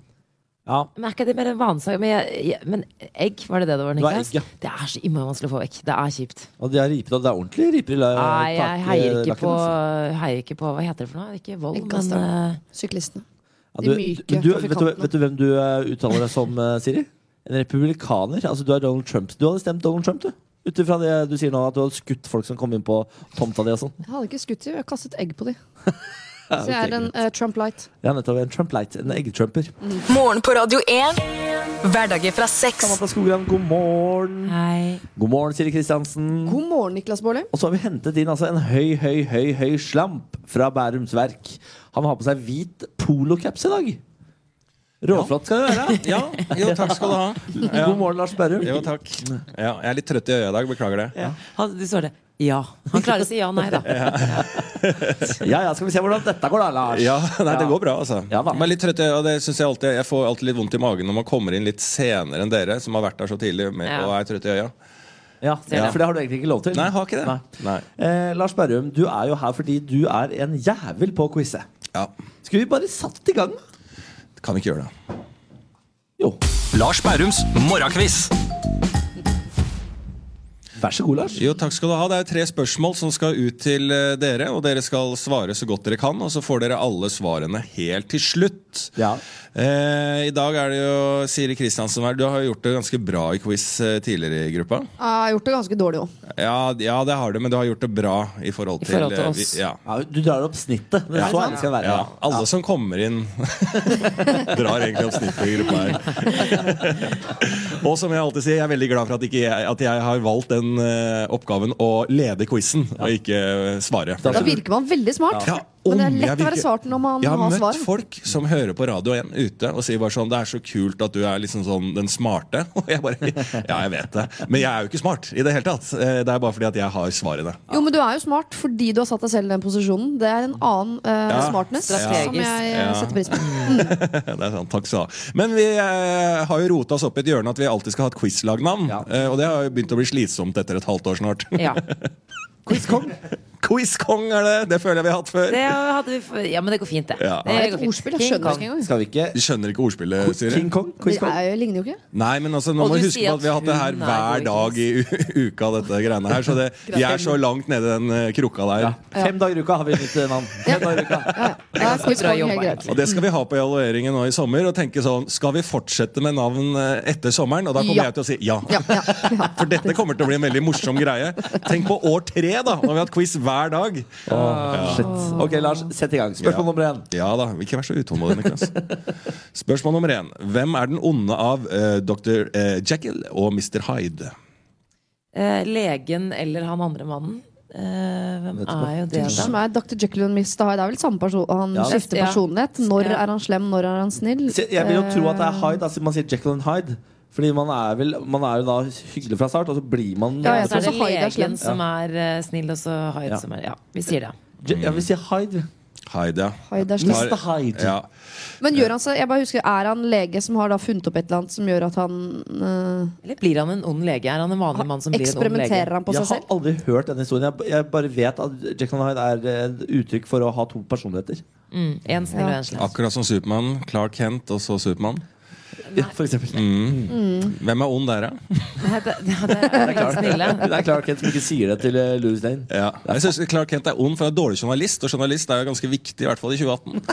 E: Ja,
B: Men er ikke det mer en vanesak? Men, jeg, jeg, men egg, var det det det var?
E: Det var egg,
B: Niklas?
E: ja.
B: Det er så innmari vanskelig å få vekk. Det er kjipt.
E: og de har riper, og det er ordentlig riper i la-
B: Nei, jeg
E: tak-
B: heier
E: lakken,
B: ikke, på,
E: altså.
B: heier ikke på Hva heter det for noe? Ikke vold, men
F: Eggkasteren.
B: eh,
F: Syklistene.
E: Ja,
F: de
E: du,
F: myke
E: men du, vet, du,
F: trafikantene.
E: vet du hvem du eh, uttaler deg som, eh, Siri? En republikaner. Altså, du er Donald Trump. Du hadde stemt Donald Trump, du. Ut ifra det du sier nå, at du hadde skutt folk som kom inn på tomta di og sånn.
F: Jeg hadde ikke skutt dem, jeg har kastet egg på dem.
E: Ja,
F: Så jeg
E: ok,
F: er en
E: greit.
F: eh, Trump light.
E: Ja, nettopp. En Trump-light. En eggetrumper.
D: Morgen på Radio 1. Hverdager fra seks.
E: Samantha Skogran, god
B: eh,
E: morgen.
B: Hei.
E: God morgen, Siri Kristiansen.
F: God morgen, Niklas Baarli.
E: Og så har vi hentet inn altså en høy, høy, høy høy slamp fra Bærums Verk. Han har på seg hvit polocaps i dag. Råflott skal det være.
H: Ja, jo, takk skal du ha. Ja.
E: God morgen, Lars Berrum.
H: Jo, takk. Ja, jeg er litt trøtt i øya i dag, beklager det.
B: Han, du svarer ja. Han klarer å si ja nei, da.
E: Ja, ja, skal vi se hvordan dette går, da, Lars.
H: Ja, nei, det går bra, altså.
E: Ja da.
H: Men litt trøtt i øya, det synes jeg alltid Jeg får alltid litt vondt i magen når man kommer inn litt senere enn dere, som har vært der så tidlig med,
B: Ja.
H: og er trøtt i øya.
E: Ja,
H: Ja.
E: For det har du egentlig ikke lov til.
H: Nei, jeg har ikke det. Nei.
E: Eh, Lars Berrum, du er jo her fordi du er en jævel på å quize.
H: Ja,
E: Skulle vi bare satt i gang?
H: kan ikke gjøre det.
E: Jo.
I: Lars Bærums morgenkviss.
E: Vær så god, Lars.
H: Jo, takk skal du ha. Det er tre spørsmål som skal ut til eh, dere, og dere skal svare så godt dere kan, og så får dere alle svarene helt til slutt.
E: Ja.
H: Eh, I dag er det jo Siri Kristiansen her. Du har jo gjort det ganske bra i quiz eh, tidligere i gruppa.
F: Jeg har gjort det ganske dårlig òg.
H: Ja, ja, det har du, men du har gjort det bra i forhold til,
B: forhold til
H: eh,
B: oss.
H: vi- Ja.
E: Ja, du drar opp snittet. Det er så ærlig skal jeg være.
H: Ja, alle som kommer inn, drar egentlig opp snittet i gruppa her. og som jeg alltid sier, jeg er veldig glad for at, ikke jeg, at jeg har valgt den eh, oppgaven å lede quizen, og ikke eh, svare.
E: Da
F: Da virker man veldig smart.
H: Ja,
F: Men det
H: om
F: er
H: jeg
F: lett å være
H: virker-
F: svart når man
H: Jeg har
F: har
H: møtt
F: svar.
H: folk som hører på Radio 1 ute og sier bare sånn Det er så kult at du er liksom sånn den smarte. Og jeg bare Ja, jeg vet det. Men jeg er jo ikke smart i det hele tatt. Eh, Det er bare fordi at jeg har svarene.
F: Jo, men du er jo smart fordi du har satt deg selv i den posisjonen. Det er en annen eh,
H: Ja.
F: smartness
B: Strategisk.
F: som jeg eh,
H: Ja.
F: setter pris på.
H: Ja, det er sant, takk skal du ha Men vi eh, har jo rota oss opp i et hjørne at vi alltid skal ha et quizlagnavn.
E: Ja.
H: Eh, og det har jo begynt å bli slitsomt etter et halvt år snart.
B: Ja.
E: Quizkong.
H: Quizkong er det! Det føler jeg vi har hatt før.
B: Det hadde vi, f- ja, men det går fint, det.
H: Ja.
B: det
F: Det er
B: går
F: et
B: fint.
F: ordspill. Jeg
B: King
F: skjønner
B: Kong.
F: ikke engang.
E: Skal vi ikke
H: Du skjønner ikke ordspillet, Siri?
E: King Kong?
F: Det
E: Quizkong?
F: er, ligner jo ikke.
H: Nei, men altså, nå
B: Og
H: må
B: du
H: vi huske
B: sier
H: på at vi har
B: at
H: hatt det her
B: hun er
H: hver
B: god
H: dag i u- uka, dette greiene her. Så det, vi er så langt nede i den eh, krukka der.
E: Ja. Fem dager i uka har vi et nytt eh, navn. Fem dager i uka.
F: Ja, ja. Da er quiz
B: bra
F: Kong helt
B: jobba,
F: greit.
H: Og det skal vi ha på evalueringen nå i sommer. Og tenke sånn, Skal vi fortsette med navn eh, etter sommeren? Og da kommer
F: Ja.
H: jeg til å si ja.
F: Ja, ja, ja.
H: For dette kommer til å bli en veldig morsom greie. Tenk på år tre, med, da. Nå har vi hatt quiz hver dag.
E: Shit. Ok, Lars, sett i gang. Spørsmål nummer én.
H: Ja da, ikke vær så utålmodig, Niklas. Spørsmål nummer én. Hvem er den onde av eh, dr. eh, Jekyll og Mr. Hyde?
B: Eh, legen eller han andre mannen. Eh, hvem
E: Nettopp.
B: er jo det, da?
F: Som er Dr. Jekyll og Mr. Hyde. Det er vel samme person Han
E: Ja.
F: skifter
B: Ja.
F: personlighet. Når
B: Ja.
F: er han slem, når er han snill? Eh,
E: Se, Jeg vil jo tro at det er Hyde. Altså, man sier Jekyll and Hyde. Fordi man er, vel, man er jo da hyggelig fra start, og så blir man
F: Ja, jeg
B: Så
F: tror
B: er det
F: også Hyde er
B: legen
F: slem.
B: som er eh, snill, og så Hyde som er Ja, vi sier det.
E: Je- Jeg vil si Hyde.
H: Hyde, ja.
F: Hyde er slem.
E: Mr. Hyde.
H: ja.
F: Men gjør han seg, jeg bare husker, er han lege som har da funnet opp et eller annet som gjør at han eh,
B: Eller blir han en ond lege? Er han en vanlig mann som blir en ond lege?
F: eksperimenterer han på
E: Jeg
F: seg
E: har
F: selv?
E: aldri hørt denne historien. Jeg, jeg bare vet at Jekyll and Hyde er eh, et uttrykk for å ha to personligheter.
B: Mm, en snill og en slem.
H: Akkurat som Supermann. Clark Kent og så Supermann.
E: Ja, for eksempel.
H: Hvem er ond der, da?
B: Nei, Det, det, det er ikke snille.
E: Det er Clark Kent som ikke sier det til eh, Louis Lane.
H: Ja. Jeg synes Clark Kent er ond, for han er dårlig journalist. Og journalist er jo ganske viktig, i hvert fall i 2018.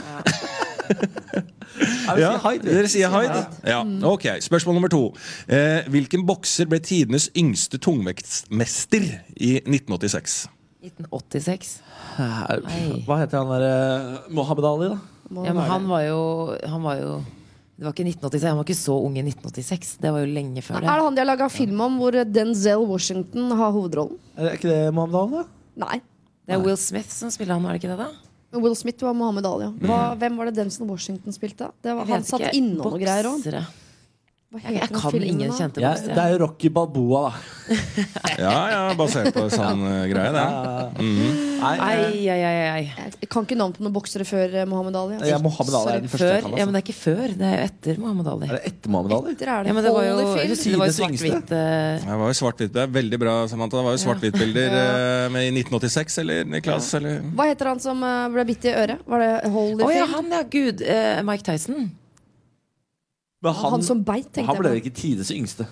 E: Jeg vil si Hyde.
H: Dere sier Hyde? Ja. Ok, Spørsmål nummer to. Eh, hvilken bokser ble tidenes yngste tungvektsmester i 1986?
B: 1986.
E: Eh, Hva heter han der eh, Mohammed Ali, da?
F: Må
B: Ja, men
F: være
B: han
F: det.
B: var jo Han var jo det var ikke 1986, Han var ikke så ung i 1986. Det var jo lenge før
F: Er
B: det.
F: det han de har laga film om hvor Denzel Washington har hovedrollen?
E: Er ikke det Mohammed Ali, da?
F: Nei.
B: Det er Will Smith som spiller han, var det ikke det? da?
F: Men Will Smith var Mohammed Ali. ja. Hva,
E: Mm.
F: hvem var det Denzel Washington spilte? Det var,
B: Jeg
F: han
B: vet
F: satt
B: ikke.
F: innom noe greier òg.
B: Boksere. Jeg, jeg kan ingen kjente
E: Ja,
B: boksere.
E: det er jo Rocky Balboa, da.
H: Ja, ja, basert på sånn eh, greie, det.
E: Nei, eh,
B: Ai, ai, ai, ai.
F: Jeg kan ikke navn på noen boksere før eh, Mohammed Ali.
E: ja, Mohammed Ali
F: Sorry.
E: er den første. jeg
B: Før?
E: kan,
B: Ja,
E: altså.
B: men det er ikke før. Det er jo etter Mohammed Ali.
E: Er det etter Mohammed Ali?
F: Etter er
B: Ja,
F: det,
B: men det var jo,
F: Holyfield.
B: husker du, det var jo
E: Tidenes
B: svart-hvitt eh,
H: Det var jo svart-hvitt. Det er Veldig bra, Samantha. Det var jo svart-hvitt-bilder eh, med i 1986, eller Niklas? Eller?
F: Hva heter han som eh, ble bitt i øret? Var
B: Å
F: det
B: ja,
F: Holyfield?
B: han ja, gud. eh, Mike Tyson.
E: Men
F: han, som beit, tenkte
E: han ble
F: jeg på.
E: ikke tidenes yngste.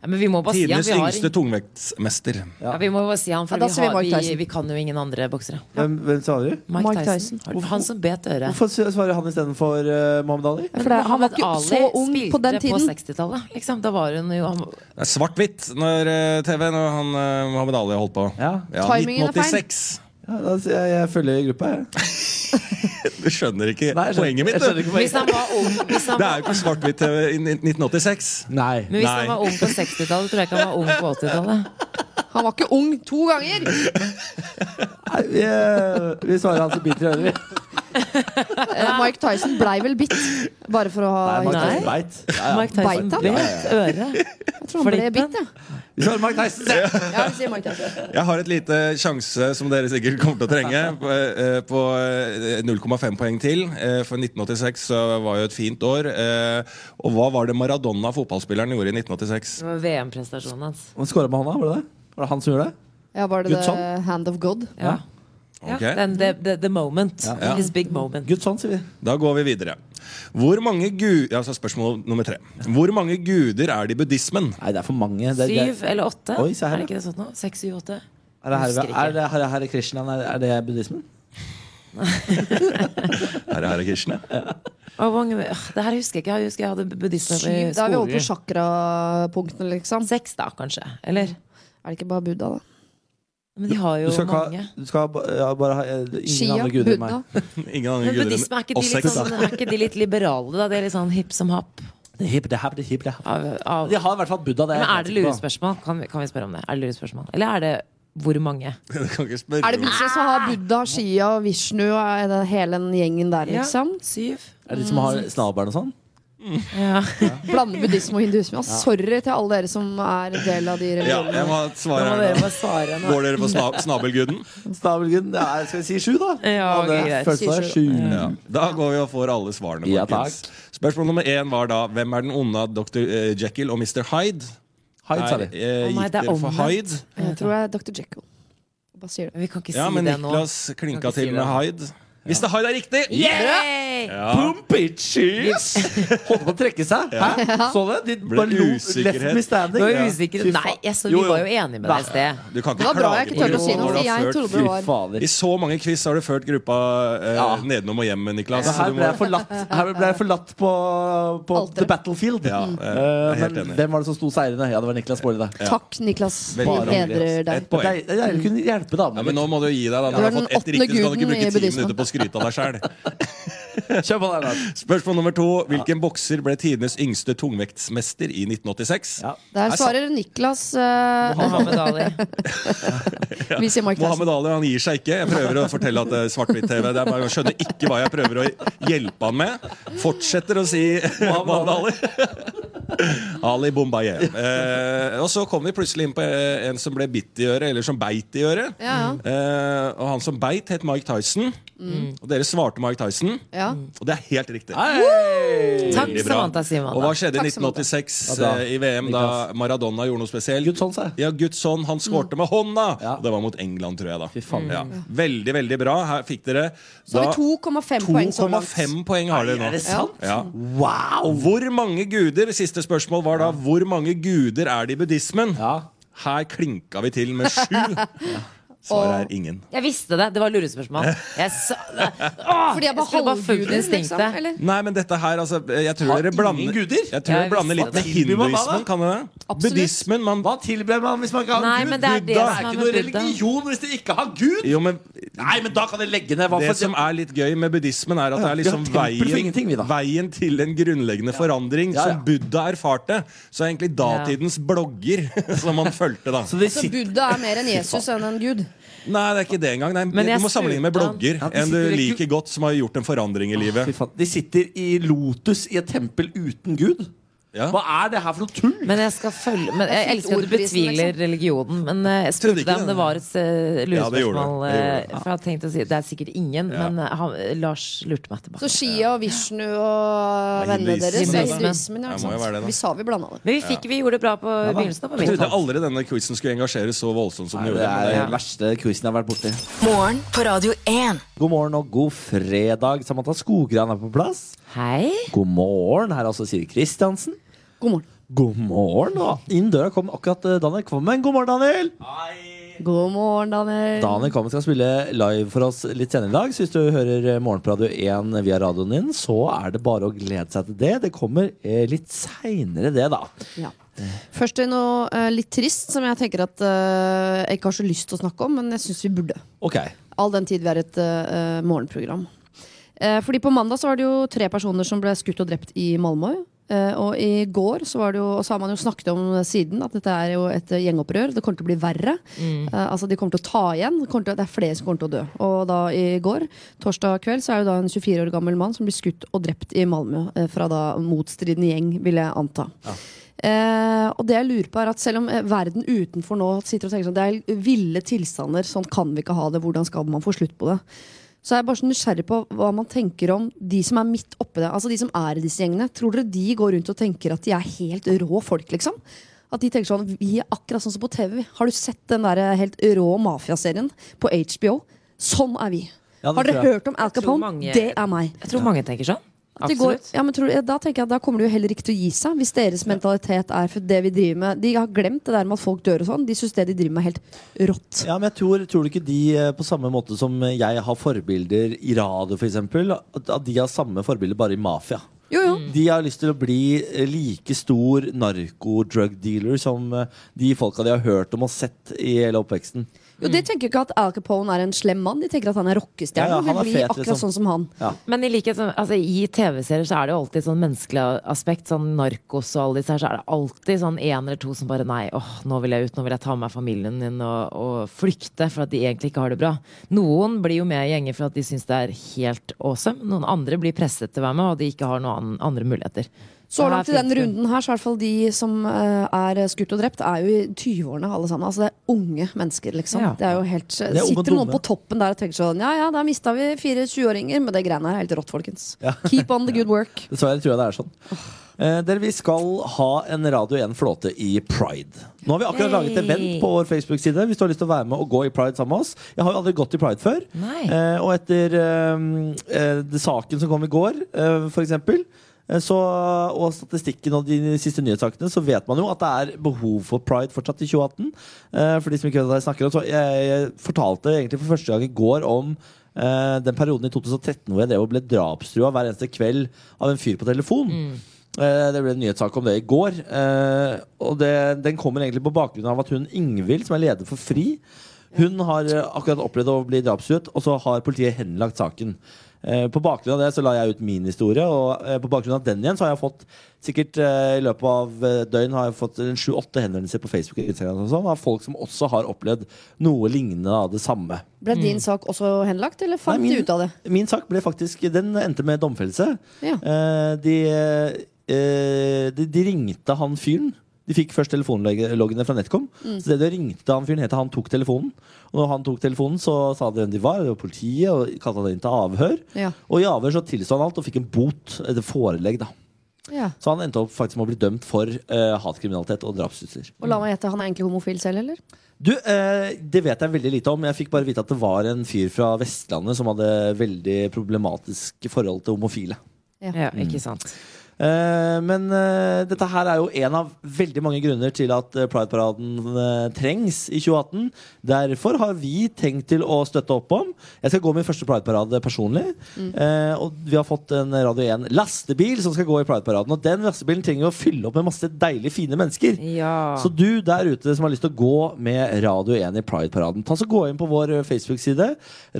B: Ja, men vi må bare
H: Tidenes
B: si han. Vi, har,
H: yngste tungvektsmester.
B: ja, vi må bare si han,
F: Ja,
B: for
F: da
B: vi,
F: sier vi Mike
B: har, vi,
F: Tyson.
B: vi kan jo ingen andre boksere.
E: Hvem, hvem sa du?
B: Mike,
F: Mike
B: Tyson. Han som bet øret.
E: Hvorfor s- svarer han istedenfor uh, Mohammed Ali?
F: Ja, For det, han var
B: Mohammed
F: ikke
B: Ali
F: så ung på den
B: spilte
F: tiden.
B: På 60-tallet. Liksom. Da var hun jo han,
H: Det er svart-hvitt når eh, TV, når han eh, Mohammed Ali holdt på.
E: Ja.
F: Timingen er feil.
H: 1986.
E: Ja, da, s- jeg, jeg følger gruppa, jeg.
H: Du skjønner ikke
E: Nei, jeg skjønner-
H: poenget mitt.
E: jeg skjønner
H: du.
E: ikke
B: Hvis
E: poenget.
B: han var ung hvis han
H: Det
B: var,
H: er jo ikke svart-hvitt TV i 1986.
E: Nei.
B: Men hvis
H: Nei.
B: han var ung på 60-tallet, tror jeg ikke han var ung på 80-tallet.
F: Han var ikke ung to ganger!
E: Nei, vi, eh, vi svarer han som biter i øret, vi.
F: Eh, Mike Tyson blei vel bitt, bare for å ha
E: Nei, Mike
B: Nei.
E: Tyson beit. Ja, ja.
B: Mike Tyson
F: Beit han?
B: bet øret.
F: Jeg tror han ble
B: Flippen.
F: bitt, jeg.
E: Vi svarer Mike Tyson. Ja.
F: Ja, vi sier Mike Tyson.
H: Jeg har et lite sjanse som dere sikkert kommer til å trenge, på, eh, på eh, 0,5 poeng til. Eh, For 1986 så var jo et fint år. Eh, Og hva var det Maradona, fotballspilleren, gjorde i 1986?
B: Det var VM-prestasjonen hans.
E: Han skåra med hånda, var det det? Var det han som gjorde det?
F: Ja, var det
E: Gudsson?
F: The Hand of God?
B: Ja. Ja,
H: Ok.
B: den, the, the, the moment. His big moment.
E: Gudsson, sier vi.
H: Da går vi videre. Hvor mange gu... Altså spørsmål nummer tre. Hvor mange guder er det i buddhismen?
E: Nei, det er for mange. Det, det,
B: Syv eller åtte?
E: Oi, se her,
B: er det
E: ja.
B: ikke det sånn nå? Seks, syv, åtte?
E: er det
B: Husker
E: her,
B: ikke.
E: er det her, her er Krishna, er, er det buddhismen?
H: Her er Krishna.
B: Å, hvor mange- Åh, Det her husker jeg ikke. Jeg husker jeg hadde buddhisme
F: Syv?
B: i
F: Da er vi over på
B: skolen.
F: chakrapunktene, liksom.
B: Seks, da, kanskje? Eller?
F: Er det ikke bare Buddha, da?
B: Men de har jo
E: Du skal, ikke
B: mange.
E: ha, du skal ha ba- ja, bare ha eh, ingen
F: Shia,
E: andre guder enn
F: Buddha.
E: meg.
H: Ingen andre
B: Men
H: guder
B: buddhisme, er ikke, de
H: enn oss
B: litt
H: seks.
B: sånn, er ikke de litt liberale, da? De er litt sånn hipp som happ?
E: Hip, det her, det hip, det her.
B: Av, av.
E: De har i hvert fall Buddha. Det
B: Men
E: jeg
B: er det
E: helt sikker på.
B: lurespørsmål? Kan, vi- kan vi spørre om det? Er det lurespørsmål? Eller er det hvor mange?
H: Du kan ikke spørre
F: Er det
H: om-
F: plutselig så har Buddha, Shia og Vishnu og er det hele den gjengen der, liksom?
B: Ja, syv?
E: Er det de som
B: Mm.
E: har snabelen og sånn?
B: Ja.
F: Blander buddhisme og hinduisme. Ja, sorry til alle dere som er del av de
H: Ja, jeg må
F: religionene.
H: ha et
B: Nå
H: svar
B: må
H: her
B: dere
H: nå.
B: bare svare nå.
H: Går dere på sna snabelguden?
E: Snabelguden? Ja, skal vi si sju, da?
B: Ja,
E: det
B: ok, greit.
E: føles som det er sju.
H: Ja. Da går vi og får alle svarene.
E: Ja,
H: folkens. Spørsmål nummer én var da hvem er den onde av dr. eh, Jekyll og mr. Hyde?
E: Hyde, sa
H: Der,
E: vi.
B: Å nei,
H: eh, gikk
B: det er
H: dere for
B: omvendt.
H: Hyde.
F: Jeg tror jeg er Dr. Jekyll. Bare sier det.
B: Vi kan ikke si
H: Ja, men
B: det nå.
H: Niklas
B: Kan
H: klinka
B: ikke si det.
H: til med Hyde. Hvis det har det er riktig!
B: Yay!
H: Ja.
E: Boom, bitches! Holdt på å trekke seg. Hæ? Så det? De
H: Ble
E: bare lo-
H: usikkerhet.
E: left me
B: Du
E: standing.
B: var jo
E: Ja.
B: usikker.
E: Fy faen.
B: Nei, jeg så,
H: Jo,
B: vi
H: jo.
B: var jo enige med deg i sted.
H: Du kan
F: Det
H: ikke
F: var bra jeg
H: klage
F: ikke
H: på
F: turte å si
H: gruppa
F: noe,
H: når
F: for
H: du har
F: jeg
H: ført
F: trodde
E: Fy
F: det var
E: fader.
H: I så mange quiz har du ført gruppa eh, nedenom og hjem, Niklas.
E: Men
H: så
E: her
H: du må-
E: ble jeg forlatt, her ble jeg forlatt på, på
F: Alteret.
E: The Battlefield.
H: Ja, jeg er
E: Eh,
H: helt
E: men
H: enig.
E: hvem var det som sto seirende? Ja, det var Niklas Baarli, det.
F: Takk, Niklas. Vi
H: Veldig
E: bra.
F: hedrer deg.
H: Et poeng.
E: Det er- det er deilig å kunne hjelpe
H: Ja,
E: damene
H: men nå må du gi deg, da. Når
F: Du
H: du
F: er
H: har
F: den
H: fått ett riktig, så kan du ikke
F: åttende guden i
H: bruke ti
F: buddhismen.
H: minutter på å skryte av deg sjøl.
E: litt. Kjør på der, Lars.
H: Spørsmål nummer to. Hvilken bokser ble tidenes yngste tungvektsmester i 1986?
E: Ja.
F: Der
H: Nei, sa-
F: svarer Niklas eh,
B: Mohammed Ali.
F: Vi sier Mike Tyson.
H: Mohammed Ali han gir seg ikke. Jeg prøver å fortelle at det er svart-hvitt-TV. Det er bare- Jeg skjønner ikke hva jeg prøver å hjelpe han med. Fortsetter å si Mohammed Ali. Ali Bombaye. Eh, og så kom vi plutselig inn på eh, en som ble bitt i øret, eller som beit i øret.
F: Ja, ja.
H: Eh, og han som beit, het Mike Tyson.
F: Mm.
H: Og dere svarte Mike Tyson.
F: Ja.
H: Og det er helt riktig.
B: Takk,
H: Veldig bra.
B: Samantha
H: Og hva
B: Simon.
H: skjedde i
F: Takk, Samantha.
H: 1986
E: Ja, bra.
H: eh, i VM da Maradona gjorde noe spesielt?
E: Gudsson, sa jeg.
H: Ja, Gudsson, han
F: Mm.
H: skårte med hånda!
E: Ja.
H: Og Det var mot England, tror jeg. da
E: Fy faen.
H: ja. Veldig, veldig bra. Her fikk dere
F: Så
H: da
F: har vi 2,5 poeng så langt.
H: 2,5 poeng har dere
E: Er det
H: nå.
E: sant?
H: Ja.
E: Wow!
H: Hvor mange guder Siste spørsmål var da hvor mange guder er det i buddhismen?
E: Ja.
H: Her klinka vi til med sju. Svaret er ingen.
B: Jeg visste det! Det var lurespørsmål. Jeg sa det. Åh,
F: Fordi jeg
B: jeg
F: bare
B: skulle bare
F: halvguden,
B: fulgt
F: liksom?
B: instinktet.
F: Eller?
H: Nei, men dette her, altså Jeg tror
E: Har ingen
H: dere blander
E: guder?
H: Jeg tror dere
B: Jeg
H: blander litt
B: visste
H: med
E: det. Tilbyr man hva da?
H: hinduismen. Kan det det?
F: Absolutt.
H: Buddhismen. Man
E: Hva tilber man hvis man ikke har
B: Nei,
E: Gud?
B: men det er det
E: Buddha
B: som er
E: ikke
B: med
E: noe
B: Buddha.
E: religion hvis det ikke har Gud!
H: Jo, men
E: Nei, men da kan jeg legge ned. Hva
H: Det
E: for
H: som er litt gøy med buddhismen, er
E: Ja,
H: at det er
E: vi har
H: liksom
E: tempel for
H: veien,
E: ingenting, vi da.
H: veien til en grunnleggende forandring
E: Ja, ja.
H: som Buddha erfarte. Så er egentlig datidens blogger som han fulgte, da.
E: Så Altså, de
B: Altså,
F: Så
E: sitter,
F: Buddha er mer enn Jesus enn en gud.
H: Nei, det er ikke det engang. Nei,
B: Men jeg
H: du må sammenligne med
B: spurte
H: blogger.
E: Ja, de
H: En du
E: sitter i ku-
H: liker godt, som har gjort en forandring i
E: Fy
H: livet.
E: faen, de sitter i lotus i et tempel uten Gud?
H: Ja.
E: Hva er det her for noe tull?
B: Men jeg skal følge men Jeg
F: fikk
B: elsker at du
F: ordprisen,
B: betviler
F: liksom.
B: religionen, men eh, jeg
H: Trodde
B: spurte
H: ikke
B: deg om
H: det.
B: det var et eh,
H: Ja, det gjorde
B: lurespørsmål.
H: det. Det gjorde
B: eh, For jeg hadde tenkt å si Det er sikkert ingen, men eh, han, Lars lurte meg
F: Så
B: tilbake.
F: Shia og Vishnu og vennene
H: hinduismen,
F: deres
B: da.
F: er hinduismen. Ja,
H: Ja,
F: ikke
H: må jo være
F: sant?
H: det, da.
F: Vi sa vi blanda det.
B: Men vi fikk vi gjorde det bra på begynnelsen. av på
H: Jeg
B: min
H: trodde
B: kant.
H: aldri denne quizen skulle engasjere så voldsomt som den
E: Det
H: gjorde.
E: er
H: men
E: den
H: det-
E: verste quizen jeg har vært borti.
D: Morgen på Radio 1.
E: God morgen og god fredag. Samantha Skogran er på plass.
B: Hei!
E: God morgen. Her er altså Siri Kristiansen.
F: God morgen.
E: God morgen. Og inn døra kom akkurat eh, Daniel Kvammen. God morgen, Daniel!
F: God morgen, Daniel.
E: Daniel Kvammen skal spille live for oss litt senere i dag. Så hvis du hører eh, Morgen på Radio 1 via radioen din, så er det bare å glede seg til det. Det kommer eh, litt seinere, det, da.
F: Ja. Først til noe eh, litt trist som jeg tenker at eh, jeg ikke har så lyst til å snakke om, men jeg syns vi burde.
E: Ok.
F: All den tid vi er et eh, morgenprogram. Eh, fordi på mandag så var det jo tre personer som ble skutt og drept i Malmö. Eh, og i går så, var det jo, og så har man jo snakket om siden at dette er jo et eh, gjengopprør. Det kommer til å bli verre. Eh, altså De kommer til å ta igjen. Det, kommer til, å- det er flere som kommer til å dø. Og da i går, torsdag kveld, så er jo da en 24 år gammel mann som blir skutt og drept i Malmö. eh, fra da motstridende gjeng, vil jeg anta. Eh, og det jeg lurer på er at Selv om eh, verden utenfor nå sitter og tenker sånn det er ville tilstander, sånn kan vi ikke ha det, hvordan skal man få slutt på det? Så jeg er bare så nysgjerrig på hva man tenker om de som er midt oppe det. Altså de som er i disse gjengene. Tror dere de går rundt og tenker at de er helt rå folk, liksom? At de tenker sånn Vi er akkurat sånn som på TV. vi. Har du sett den der eh, helt rå mafiaserien på HBO? Sånn er vi.
E: Ja, det
F: Har dere
E: tror jeg.
F: hørt om Al
B: tror
F: Capone?
B: mange-
F: Det er meg.
B: Jeg tror mange tenker sånn.
F: At det går,
B: Absolutt.
F: ja, men tror, du- da tenker jeg at da kommer det jo heller ikke til å gi seg, hvis deres mentalitet er for det vi driver med. De har glemt det der med at folk dør og sånn. De syns det de driver med, er helt rått.
E: Ja, men jeg tror, tror du ikke de eh, på samme måte som jeg har forbilder i radio, f.eks., at at de har samme forbilder bare i mafia?
F: Jo, jo.
E: De har lyst til å bli eh, like stor narko-drug dealer som eh, de folka de har hørt om og sett i hele oppveksten.
F: jo de tenker ikke at Al Capone er en slem mann. De tenker at han er rockestjerne
E: Mm. Ja, ja,
F: og vil
E: han er
F: bli
E: fet,
F: akkurat
E: liksom.
F: sånn som han.
E: Ja.
B: Men i likhet som, altså, i TV-serier så er det jo alltid sånn menneskelig aspekt. Sånn narkos og alle disse her, så er det alltid sånn en eller to som bare Nei, åh, nå vil jeg ut. Nå vil jeg ta med meg familien min og, og flykte, for at de egentlig ikke har det bra. Noen blir jo med i gjenger for at de syns det er helt awesome. Noen andre blir presset til å være med, og de ikke har noen an- andre muligheter.
F: Så
B: her
F: langt i den
B: finnes det-
F: runden her, så er i hvert fall de som eh, er skutt og drept, er jo i 20-årene alle sammen. Altså det er unge mennesker, liksom.
B: Ja. Ja.
F: Det er jo helt,
E: er om og
F: sitter noen
E: dumme.
F: på toppen der og tenker sånn Ja ja, da mista vi fire 20-åringer, men det greiene her er helt rått, folkens. Keep on the good work.
E: Dessverre tror jeg det er sånn. Eh, dere, Vi skal ha en Radio 1-flåte i Pride. Nå har vi akkurat laget et event på vår Facebook-side. Hvis du har lyst til å være med og gå i Pride sammen med oss. Jeg har jo aldri gått i Pride før.
B: Nei.
E: Eh, og etter eh, eh, det saken som kom i går, eh, for eksempel, eh, så, og statistikken og de siste nyhetssakene, så vet man jo at det er behov for Pride fortsatt i 2018. Eh, for de som ikke vet hva jeg snakker om, så jeg, jeg fortalte egentlig for første gang i går om eh, den perioden i 2013 hvor jeg drev og ble drapstrua hver eneste kveld av en fyr på telefon. Eh, Det ble en nyhetssak om det i går. eh, Og det, den kommer egentlig på bakgrunn av at hun Ingvild, som er leder for FRI, hun har eh, akkurat opplevd å bli drapstruet, og så har politiet henlagt saken. Eh, På bakgrunn av det så la jeg ut min historie, og eh, på bakgrunn av den igjen så har jeg fått sikkert eh, i løpet av eh, døgn har jeg fått en sju-åtte henvendelser på Facebook og Instagram og sånn, av folk som også har opplevd noe lignende av det samme.
F: Ble din sak også henlagt, eller fant
E: Mm. Nei,
F: du ut av det?
E: Min sak ble faktisk Den endte med domfellelse.
F: Ja.
E: Eh, de, eh, de, de ringte han fyren. De fikk først telefonloggene fra Netcom.
F: Mm.
E: Så det de ringte han fyren, het han tok telefonen. Og når han tok telefonen, så sa de hvem de var. Det var politiet, og kalte han inn til avhør.
F: Ja.
E: Og i avhør så tilsto han alt og fikk en bot. Et forelegg, da.
F: Ja.
E: Så han endte opp faktisk med å bli dømt for eh, hatkriminalitet og drapstrusler.
F: Og la meg gjette, han er egentlig homofil selv, eller?
E: Du, eh, Det vet jeg veldig lite om. Jeg fikk bare vite at det var en fyr fra Vestlandet som hadde veldig problematiske forhold til homofile.
B: Ja, ikke sant.
E: Eh, men eh, dette her er jo en av veldig mange grunner til at eh, Pride-paraden eh, trengs i 2018. Derfor har vi tenkt til å støtte opp om. Jeg skal gå min første Pride-parade personlig. Eh, og vi har fått en Radio 1-lastebil som skal gå i Pride-paraden. Og den lastebilen trenger vi å fylle opp med masse deilige, fine mennesker.
B: Ja.
E: Så du der ute som har lyst til å gå med Radio 1 i Pride-paraden, ta så gå inn på vår eh, Facebook-side,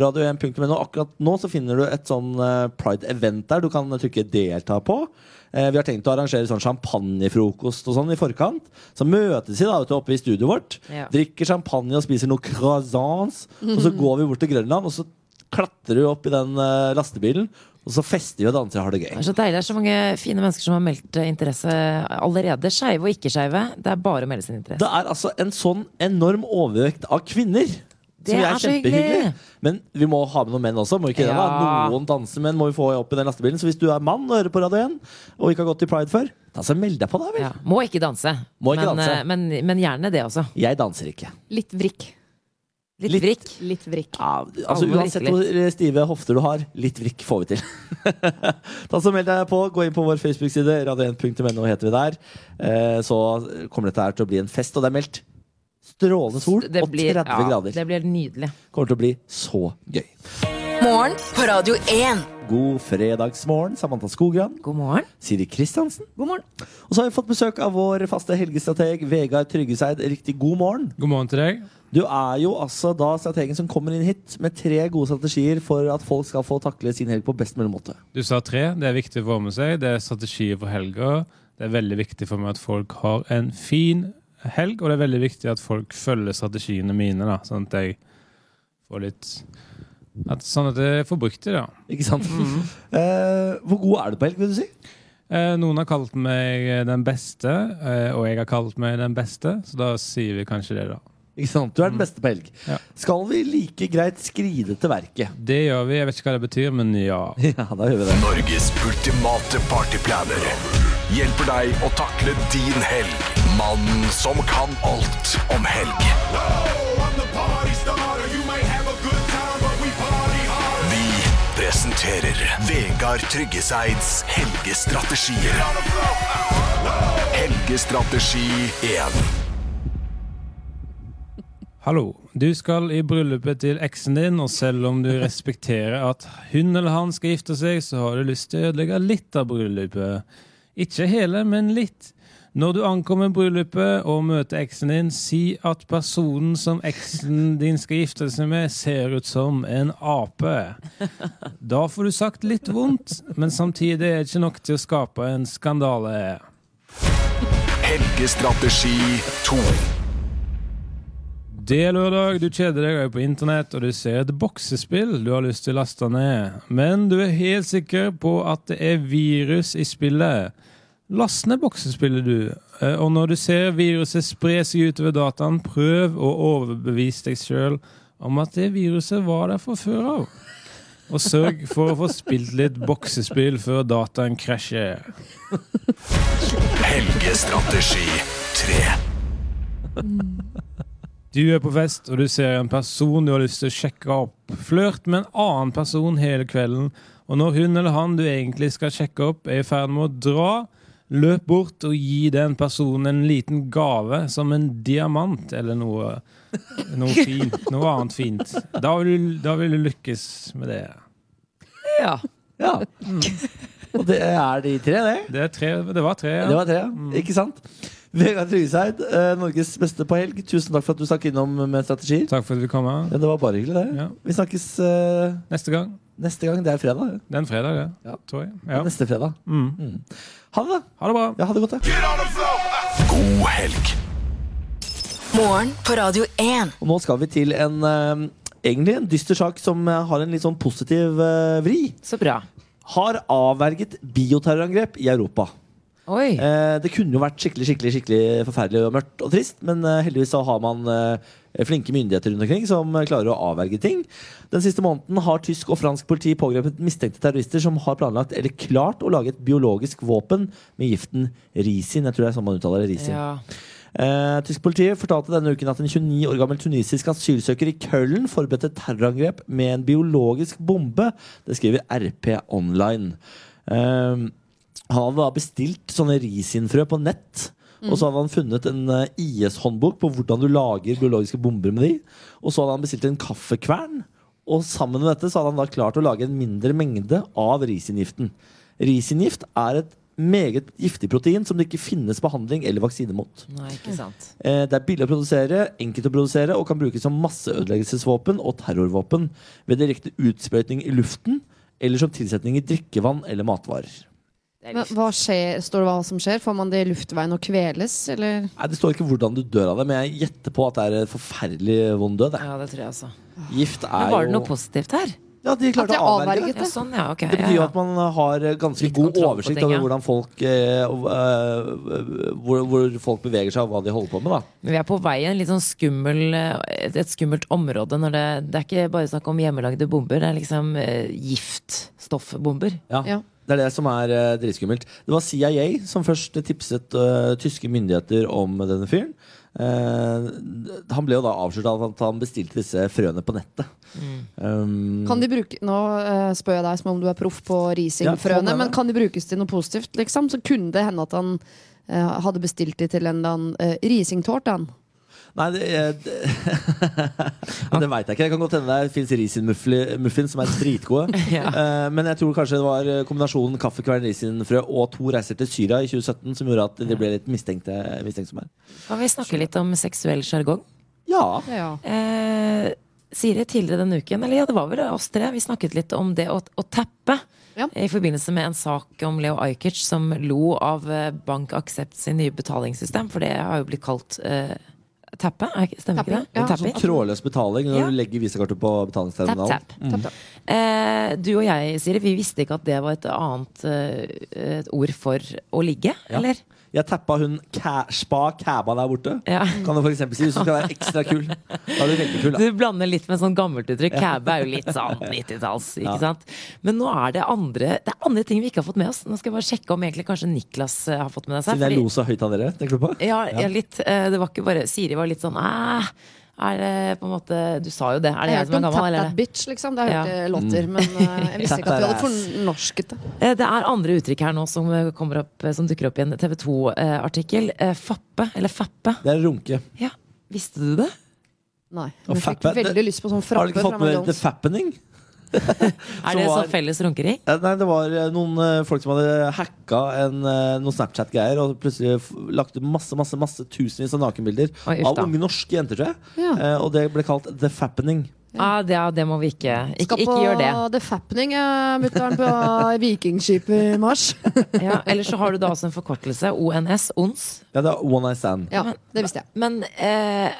E: radio1.no. Akkurat nå så finner du et sånn eh, Pride-event der du kan eh, trykke 'delta' på. Eh, Vi har tenkt å arrangere sånn champagnefrokost og sånn i forkant. Så møtes vi da ute oppe i studioet vårt,
B: Ja.
E: drikker champagne og spiser noen croissants. Og så går vi bort til Grønland, og så klatrer vi opp i den eh, lastebilen. Og så fester vi og danser og har det
B: Det
E: gøy.
B: er så deilig. Det er så mange fine mennesker som har meldt eh, interesse allerede. Skeive og ikke-skeive. Det er bare å melde sin interesse.
E: Det er altså en sånn enorm overvekt av kvinner.
B: Det
E: som
B: er
E: er
B: så hyggelig.
E: kjempehyggelig. Men vi må ha med noen menn også. Må vi ikke det da?
B: Ja.
E: Noen dansemenn må vi få opp i den lastebilen. Så hvis du er mann og hører på Radio 1 og ikke har gått i Pride før, da så meld deg på, da vel.
B: Ja. Må ikke danse.
E: Må ikke
B: men,
E: danse.
B: eh, Men, men gjerne det også.
E: Jeg danser ikke.
F: Litt vrikk.
B: Litt
E: Litt.
B: vrikk.
F: Litt vrikk.
E: Ja, altså
B: Alle
E: Uansett
B: drikker
E: hvor stive hofter du har, litt vrikk får vi til. da så Meld deg på. Gå inn på vår Facebook-side, radio1.no heter vi der. Eh, Så kommer dette her til å bli en fest, og det er meldt strålende sol
B: Det blir,
E: og 30
B: ja,
E: grader.
B: det blir nydelig.
E: Kommer til å bli så gøy.
D: Morgen på Radio 1.
E: God fredagsmorgen, Samantha Skogran.
B: God morgen.
E: Siri Kristiansen. God morgen. Og så har vi fått besøk av vår faste helgestrateg Vegard Tryggeseid. Riktig god morgen.
J: God morgen til deg.
E: Du er jo altså da strategen som kommer inn hit med tre gode strategier for at folk skal få takle sin helg på best mulig måte.
J: Du sa tre. Det er viktig å få med seg. Det er strategier for helga. Det er veldig viktig for meg at folk har en fin helg, og det er veldig viktig at folk følger strategiene mine, da, sånn at jeg får litt at, Sånn at jeg får brukt det, da.
E: Ikke sant?
J: Mhm.
E: Eh, hvor god er du på helg, vil du si?
J: Eh, noen har kalt meg eh, den beste, eh, og jeg har kalt meg den beste, så da sier vi kanskje det, da.
E: Ikke sant? Du er den beste på helg.
J: Mhm. Ja.
E: Skal vi like greit skride til verket?
J: Det gjør vi. Jeg vet ikke hva det betyr, men ja.
E: Ja, da gjør vi det.
I: Norges ultimate partyplaner hjelper deg å takle din helg. Mannen som kan alt om helg. Vi presenterer Vegard Tryggeseids helgestrategier. Helgestrategi 1.
J: Hallo. Du skal i bryllupet til eksen din, og selv om du respekterer at hun eller han skal gifte seg, så har du lyst til å ødelegge litt av bryllupet. Ikke hele, men litt. Når du ankommer bryllupet og møter eksen din, si at personen som eksen din skal gifte seg med, ser ut som en ape. Da får du sagt litt vondt, men samtidig er det ikke nok til å skape en skandale.
I: Helgestrategi 2.
J: Det er lørdag, du kjeder deg og er på internett, og du ser et boksespill du har lyst til å laste ned. Men du er helt sikker på at det er virus i spillet. Last ned boksespillet, du. Eh, Og når du ser viruset spre seg utover dataen, prøv å overbevise deg sjøl om at det viruset var der fra før av. Og sørg for å få spilt litt boksespill før dataen krasjer.
I: Helgestrategi 3.
J: Du er på fest, og du ser en person du har lyst til å sjekke opp. Flørt med en annen person hele kvelden, og når hun eller han du egentlig skal sjekke opp, er i ferd med å dra, løp bort og gi den personen en liten gave, som en diamant eller noe, noe fint. Noe annet fint. Da vil, du- da vil du lykkes med det.
B: Ja.
E: Ja.
J: Mm.
E: Og det er de tre, det.
J: Det, er tre, det var tre.
E: Det var tre, ja. Mm. Ikke sant? Vegard Tryggeseid, eh, Norges beste på helg. Tusen takk for at du stakk innom med strategier.
J: Takk for at du kom. her.
E: Ja, det var bare hyggelig, det. Vi snakkes eh,
J: Neste gang.
E: neste gang. Det er fredag. det.
J: Det er en fredag, det. Tror jeg. Ja.
E: Neste fredag. Mm. Ha det, da.
J: Ha det bra.
E: Ja, ha det godt, da.
I: God helg.
D: Morgen på Radio 1.
E: Og nå skal vi til en eh, egentlig en dyster sak som eh, har en litt sånn positiv eh, vri.
B: Så bra.
E: Har avverget bioterrorangrep i Europa.
B: Oi.
E: Eh, det kunne jo vært skikkelig skikkelig, skikkelig forferdelig og mørkt og trist, men eh, heldigvis så har man eh, flinke myndigheter rundt omkring som eh, klarer å avverge ting. Den siste måneden har tysk og fransk politi pågrepet mistenkte terrorister som har planlagt eller klart å lage et biologisk våpen med giften risin. Jeg tror det er sånn man uttaler det. risin.
B: Ja.
E: Eh, tysk politi fortalte denne uken at en 29 år gammel tunisisk asylsøker i Køllen forberedte et terrorangrep med en biologisk bombe. Det skriver RP Online. Eh, han hadde da bestilt sånne risinfrø på nett. Og så hadde han funnet en eh, IS-håndbok på hvordan du lager biologiske bomber med de. Og så hadde han bestilt en kaffekvern. Og sammen med dette så hadde han da klart å lage en mindre mengde av risingiften. Risingift er et meget giftig protein som det ikke finnes behandling eller vaksine mot.
B: Nei, ikke sant.
E: Eh, Det er billig å produsere, enkelt å produsere og kan brukes som masseødeleggelsesvåpen og terrorvåpen ved direkte utsprøytning i luften eller som tilsetning i drikkevann eller matvarer.
B: Det er
F: Men
B: litt-
F: Hva skjer, står det hva som skjer? Får man det i luftveien og kveles, eller?
E: Nei, Det står ikke hvordan du dør av det, men jeg gjetter på at det er en forferdelig vond død. det.
B: Ja, det tror jeg også.
E: Gift er
B: Men var det
E: jo
B: noe positivt her?
E: Ja, de
F: At
E: klarte
F: jeg
E: å avverge det.
F: avverget
B: Ja,
F: det?
B: sånn, ja. Ok.
E: Det betyr jo
B: ja,
E: at man har ganske
B: Litt
E: god
B: kontroll på
E: oversikt
B: ting,
E: over
B: ja.
E: hvordan folk eh, og, eh, hvor, hvor folk beveger seg, og hva de holder på med. da
B: Men vi er på vei i en litt sånn skummel, eh, et skummelt område. Når det, det er ikke bare snakk om hjemmelagde bomber, det er liksom eh, giftstoffbomber.
E: Ja.
F: Ja.
E: Det er det som er eh, dritskummelt. Det var CIA som først tipset eh, tyske myndigheter om denne fyren. Eh, han ble jo da avslørt av at han bestilte disse frøene på nettet. Um,
F: Kan de bruke, nå eh, spør jeg deg som om du er proff på
E: Ja, kom med
F: risingfrøene,
E: det.
F: men kan de brukes til noe positivt, liksom? Så kunne det hende at han eh, hadde bestilt de til en eller annen eh, risingtårt, han.
E: Nei, det, eh, det, det veit jeg ikke. Det kan godt hende det fins risinmuffins som er dritgode. Eh, men jeg tror kanskje det var eh, kombinasjonen kaffekvern, risinfrø og to reiser til Syria i 2017 som gjorde at de ble litt mistenkte. mistenksomme.
B: Kan vi snakke litt om seksuell sjargong?
E: Ja.
F: Ja.
B: Eh, Siri, tidligere denne uken, eller ja, det var vel oss tre, vi snakket litt om det å, å tappe.
F: Ja.
B: I forbindelse med en sak om Leo Ajkic som lo av eh, Bank Accept sin nye betalingssystem, for det har jo blitt kalt eh, tappe, er ikke- stemmer ikke det?
F: Tapping, ja.
B: Tapping.
E: sånn Trådløs betaling når
B: Ja.
E: du legger visakortet på
B: Tap,
E: betalingsterminalen.
B: tap. Eh, du og jeg, Siri, vi visste ikke at det var et annet eh, et ord for å ligge, eller?
E: Jeg tappa hun ca spa cæba der borte.
B: Ja.
E: Kan du for eksempel si hvis du skal være ekstra kul. Da er du veldig kul,
B: Du
E: da.
B: blander litt med sånn gammelt uttrykk. Cabbe er jo litt sånn 90-talls, ikke sant. Men nå er det andre Det er andre ting vi ikke har fått med oss. Nå skal jeg bare sjekke om egentlig kanskje Niklas eh, har fått med seg.
E: Siden jeg
B: fordi-
E: lo så høyt av dere. Tenker du på?
B: Ja, ja, litt. eh, Det var ikke bare Siri var litt sånn Æh, er det på en måte Du sa jo det. Er det jeg
F: Jeg
B: som
F: hørte
B: er
F: om Tap
B: gammel,
F: That
B: eller?
F: Bitch, liksom. Det har jeg
B: Ja.
F: hørt i låter. Men eh, jeg visste ikke
E: Mm.
F: at du
E: Tap
F: hadde
E: that
F: fornorsket det.
B: Eh, Det er andre uttrykk her nå som, eh, kommer opp, eh, som dukker opp i en TV 2-artikkel. Eh, Fappe, eller fappe.
E: Det er runke.
B: Ja, visste du det?
F: Nei.
E: Og
F: Jeg fikk
E: fappe-
F: veldig lyst på sånn
E: Har du
F: frappe
E: ikke
F: fra
E: fått med The
F: McDonald's.
E: Fappening?
B: Er det
E: var-
B: sånn felles runkering?
E: Eh, Nei, det var eh, noen eh, folk som hadde hacka en, eh, noen Snapchat-greier og plutselig f lagt ut masse, masse, masse tusenvis av nakenbilder
B: Oi, uff
E: av
B: da.
E: unge norske jenter, tror jeg.
F: Ja.
E: Eh, Og det ble kalt The Fappening.
B: Ah, Ja, det, ja, det må vi ikke. Ikke,
F: Skal på
B: ikke gjør det.
F: The Fappening, eh, mutter'n, på vikingskip i mars.
B: Ja, Eller så har du da også en forkortelse. ONS. ONS.
E: Ja, det er One Night Stand.
F: Ja, det visste jeg.
B: Men eh,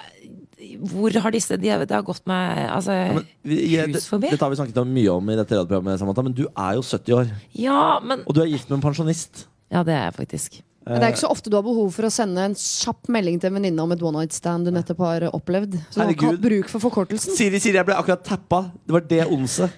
B: hvor har disse de, har- Det har gått meg altså,
E: Men vi- jeg-
B: hus
E: det-
B: forbi.
E: Dette har vi snakket om mye om i dette radioprogrammet, Samantha, men du er jo 70 år.
B: Ja, men
E: Og du er gift med en pensjonist.
B: Ja, det er jeg
E: Eh.
B: faktisk.
F: Men det er ikke så ofte du har behov for å sende en kjapp melding til en venninne om et one night stand du nettopp har opplevd. Så du har ikke
E: Herregud.
F: hatt bruk for forkortelsen.
E: Siri, Siri, jeg ble akkurat tappa. Det var det onset.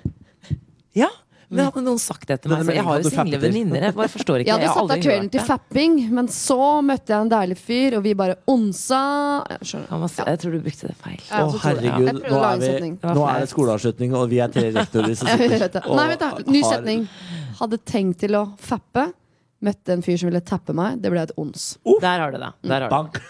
B: Ja, men hadde noen sagt det til meg
E: Denne
B: så Jeg
E: meldingen
B: har jo
E: hadde du
B: single
E: fappet til.
B: venninner. Jeg bare forstår ikke.
F: Jeg hadde
B: har
F: satt av
B: aldri
F: kvelden
B: hørt
F: til
B: det.
F: fapping, men så møtte jeg en deilig fyr, og vi bare onsa. Jeg skjønner.
B: Han var- Jeg tror du brukte det feil.
F: Ja,
E: Å,
F: så tror jeg-
E: herregud.
F: Jeg
E: Nå
F: prøvde å lage
E: er,
F: en
E: vi,
F: setning.
E: nå er det skoleavslutning, og vi er tre rektorer som
F: Jeg
E: sitter
F: vet det.
E: og
F: Nei, vent da. Ny
E: har-
F: setning. Hadde tenkt til å fappe. Møtte en fyr som ville tappe meg. Det ble et ons.
E: Oh.
B: Der har du det.
F: Mm.
B: Der har du.
E: Bank.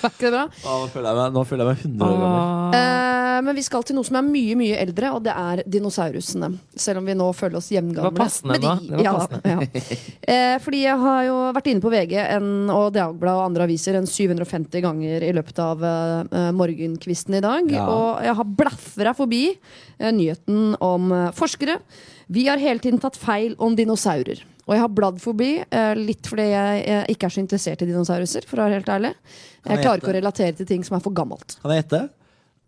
F: Var ikke det bra?
E: Å, nå, føler jeg meg, nå føler jeg meg 100 år gammel.
F: Eh, men vi skal til noe som er mye mye eldre, og det er dinosaurusene. Selv om vi nå føler oss
B: Det
F: jevngamle.
B: var passende
F: Men de-
B: nå. Det var
F: ja,
B: passende.
F: ja. Eh, fordi jeg har jo vært inne på VG en, og Dagbladet og andre aviser en 750 ganger i løpet av eh, morgenkvisten i dag.
E: Ja.
F: Og jeg har blafra forbi eh, nyheten om eh, forskere. Vi har hele tiden tatt feil om dinosaurer. Og jeg har bladd forbi, eh, litt fordi jeg eh, ikke er så interessert i dinosauruser. For å være helt ærlig
E: jeg
F: Jeg klarer ikke å
E: gjette?
F: relatere til ting som er for gammelt.
E: Kan jeg gjette?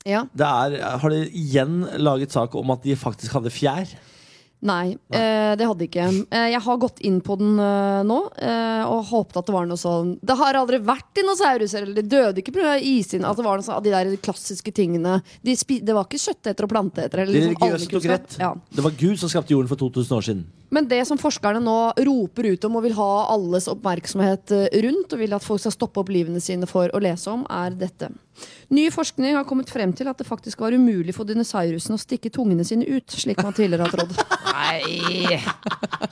F: Ja
E: Det er, har de igjen laget sak om at de faktisk hadde fjær?
F: Liksom Nei, eh, det hadde ikke. Eh, jeg har gått inn på den eh, nå eh, og håpet at det var noe sånn Det har aldri vært dinosauruser, eller de døde ikke pga. isen. At det var noe sånn, de der klassiske tingene. De spi det var ikke kjøttetere og planteetere.
E: De
F: eller liksom
E: religiøse tok
F: allmennkunnskap.
E: rett.
F: Ja.
E: Det var Gud som skapte jorden for 2000 år siden.
F: Men det som forskerne nå roper ut om og vil ha alles oppmerksomhet eh, rundt, og vil at folk skal stoppe opp livene sine for å lese om, er dette. Ny forskning har kommet frem til at det faktisk var umulig for dinosaurusene å stikke tungene sine ut, slik man tidligere har trodd.
B: Nei!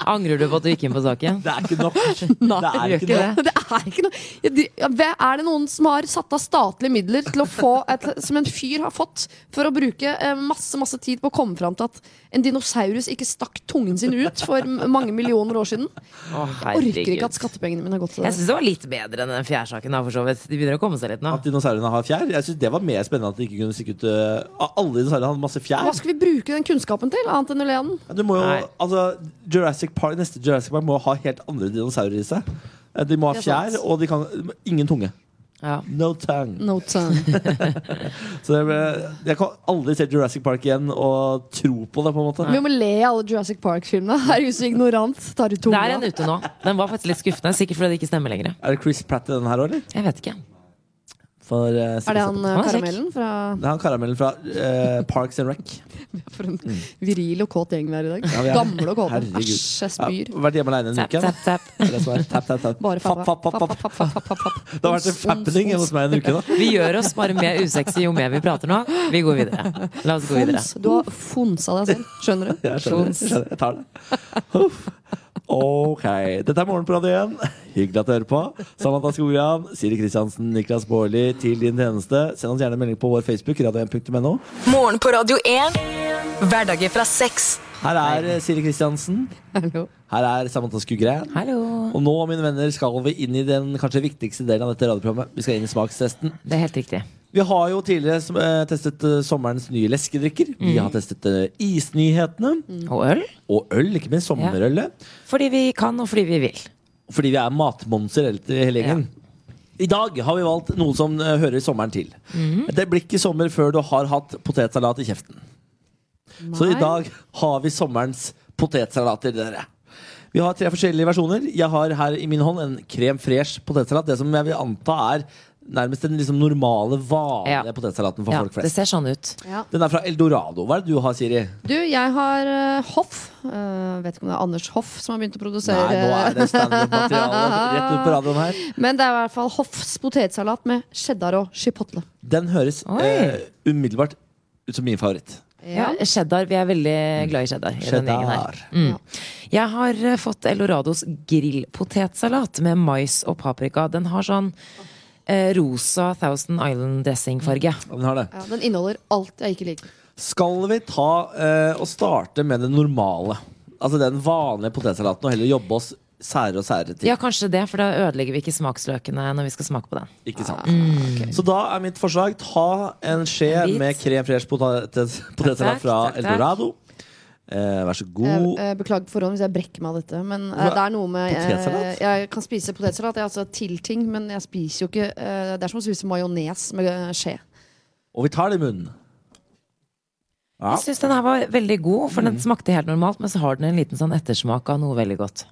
B: Angrer du på at du gikk inn på saken?
E: Det er ikke nok. det er
B: gjør
E: ikke nok.
B: ikke det.
F: Det er ikke noe ja, de, ja, hva- Er det noen som har satt av statlige midler til å få et, som en fyr har fått, for å bruke eh, masse masse tid på å komme fram til at en dinosaurus ikke stakk tungen sin ut for m- mange millioner år siden?
B: Å,
F: Orker ikke
B: herregud.
F: at skattepengene mine har gått til
B: Jeg
F: det.
B: syns det var litt bedre enn den fjærsaken. da, for så vidt. De begynner å komme seg litt nå.
E: At dinosaurene har fjær? Jeg synes Det var mer spennende at de ikke kunne stikke ut øh, Alle dinosaurene hadde masse fjær.
F: Hva skal vi bruke den kunnskapen til, annet enn å le av den?
E: Ja, Du må jo,
B: Nei.
E: altså, Jurassic Park, neste Jurassic Park må ha helt andre dinosaurer i seg. Eh, De må ha
F: Det er sant. Mm.
E: fjær, og de kan ingen tunge.
B: Ja.
E: No tongue.
F: No time.
E: Så det ble, jeg kan aldri se Jurassic Park igjen og tro på det, på en måte.
F: Vi må le av alle Jurassic Park-filmene. Er du så ignorant? Tar du
B: Det er en
F: tunga?
B: ute nå. Den var faktisk litt skuffende. Sikkert fordi det ikke stemmer lenger.
E: Er det Chris Pratt i den her òg, eller?
B: Jeg vet ikke.
E: For, eh,
F: Er det han eh,
B: Han er kjekk.
F: karamellen fra
E: Det er han karamellen fra eh, Parks and Rec.
F: For en viril og kåt gjeng vi er i dag.
E: Mm. Ja, vi er-
F: Gamle og kåte.
E: Herregud.
F: Æsj, jeg spyr.
E: Ja, vært hjemme aleine en
B: Tap,
E: uke. da.
B: tap, tap.
E: Det er det som er. Tap, tap, tap.
F: Bare
E: Fapp,
F: fapp,
E: fapp, fapp, fapp.
F: fapp, fapp, fapp, fapp.
E: Det har vært en fappening hos meg en uke nå.
B: Vi gjør oss bare mer usexy jo mer vi prater nå. Vi går videre. La oss gå videre.
F: Fons. Du har fonsa deg selv, skjønner du?
E: Jeg skjønner, jeg skjønner, jeg tar det. Huff. Ok. Dette er Morgen på Radio 1. Hyggelig at du hører på. Samantha Skogran, Siri Kristiansen, Niklas Baarli, til din tjeneste. Send oss gjerne en melding på vår Facebook, radio1.no.
D: Morgen på Radio 1. Hverdager fra seks.
E: Her er eh, Siri Kristiansen.
F: Hallo.
E: Her er Samantha Skogran.
B: Hallo.
E: Og nå, mine venner, skal vi inn i den kanskje viktigste delen av dette radioprogrammet. Vi skal inn i smakstesten.
B: Det er helt riktig.
E: Vi har jo tidligere som, eh, testet eh, sommerens nye leskedrikker. Vi
B: Mm.
E: har testet eh, isnyhetene.
B: Og øl?
E: Og øl, ikke minst. Sommerølet.
B: Fordi vi kan, og fordi vi vil.
E: Fordi vi er matmonser hele- hele gjengen. I dag har vi valgt noe som eh, hører sommeren til.
B: Mm.
E: Det blir ikke sommer før du har hatt potetsalat i kjeften. Så i dag har vi sommerens potetsalater, dere. Vi har tre forskjellige versjoner. Jeg har her i min hånd en krem fresh potetsalat. Det som jeg vil anta er nærmest den liksom normale, vanlige
B: Ja.
E: potetsalaten for
B: Ja,
E: folk
B: det
E: flest.
B: ser sånn ut.
E: Den er fra Eldorado. Hva er det du har, Siri?
F: Du, jeg har eh, Hoff. Eh, vet ikke om det er Anders Hoff som har begynt å
E: Nei,
F: produsere
E: nå er det standup-materiale rett ut på radioen her.
F: Men det er i hvert fall Hoffs potetsalat med cheddar og chipotle.
E: Den høres
B: Oi.
E: eh, umiddelbart ut som min favoritt.
B: Ja, cheddar. Vi er veldig glad i cheddar. i den gjengen
E: Cheddar.
B: her.
F: Ja.
B: Jeg har eh, fått Eldorados grillpotetsalat med mais og paprika. Den har sånn eh, rosa Thousand Island dressingfarge.
E: Ja, Den har det.
F: Ja, den inneholder alt jeg ikke liker.
E: Skal vi ta eh, og starte med det normale? Altså den vanlige potetsalaten, og heller jobbe oss sære og sære til.
B: Ja, kanskje det, for da ødelegger vi ikke smaksløkene når vi skal smake på den.
E: Ikke sant? Så da er mitt forslag ta en skje
B: Mm, En bit.
E: med krem fresh potet-
B: Takk,
E: potetsalat fra
B: takk, takk.
E: Eldorado. Eh, vær så
F: Jeg,
E: god.
F: eh, beklager på forhånd hvis jeg brekker meg av dette. Men eh,
E: Hva-
F: det er noe med eh,
E: Potetsalat?
F: Jeg kan spise potetsalat, jeg, altså til ting, men jeg spiser jo ikke eh, Det er som å spise majones med eh, skje.
E: Og vi tar det i munnen. Ja. Mm.
B: Jeg syns den her var veldig god, for den smakte helt normalt, men så har den en liten sånn ettersmak av noe veldig godt.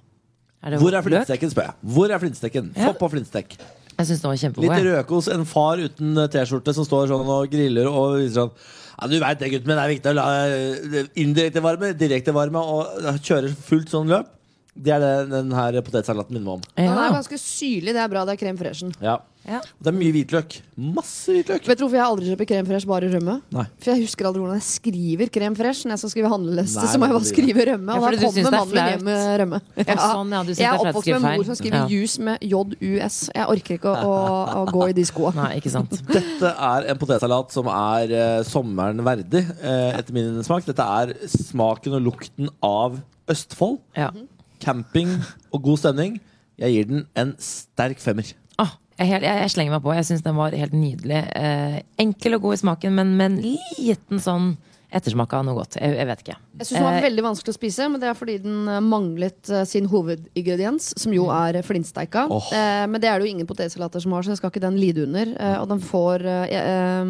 B: Er det
E: Hvor er
B: løk?
E: flintstekken, spør jeg. Hvor er flintstekken?
B: Ja.
E: Få på flintstek.
B: Jeg syns den var kjempegod.
E: Litt
B: jeg.
E: rødkos. En far uten eh, T-skjorte som står sånn og griller og viser sånn ja, Du veit det, gutten min. Det er viktig å la eh, indirekte varme, direkte varme og kjører fullt sånn løp. Det er det den her potetsalaten minner meg om.
F: Den er ganske syrlig. Det er bra. Det er krem freshen.
E: Ja.
B: Ja.
E: Og Det er mye hvitløk. Masse hvitløk.
F: Vet du hvorfor jeg aldri kjøper krem fresh, bare rømme?
E: Nei.
F: For jeg husker aldri hvordan jeg skriver krem fresh. Når jeg skal skrive handleliste,
E: Nei,
F: så må jeg
E: det
F: bare
E: blir det.
F: skrive rømme.
B: Ja,
F: Og
B: fordi
F: da
B: du synes det
F: kommer
B: er
F: mannen min
B: flaut.
F: hjem med rømme.
B: Ja, sånn, ja, du synes det
F: jeg
B: er
F: er
B: flaut å
F: oppvokst
B: skrive
F: med en
B: feil.
F: mor som skriver
B: Ja.
F: juice med JUS. Jeg orker ikke å, å, å gå i de skoa.
B: Nei, ikke sant.
E: Dette er en potetsalat som er eh, sommeren verdig, eh, etter min smak. Dette er smaken og lukten av Østfold.
B: Ja.
F: Mhm.
E: Camping og god stemning. Jeg gir den en sterk femmer.
B: Ah, jeg, er helt- jeg, jeg slenger meg på. Jeg syns den var helt nydelig. Eh, enkel og god i smaken, men med en liten sånn ettersmak av noe godt. Jeg, jeg vet ikke.
F: Jeg synes den var
B: Eh,
F: veldig vanskelig å spise, men det er fordi den eh, manglet eh, sin hovedingrediens, som
B: Mm.
F: jo er flintsteika.
E: Åh.
F: Eh, men det er det jo ingen potetsalater som har, så jeg skal ikke den lide under. Eh, og den får, eh, eh,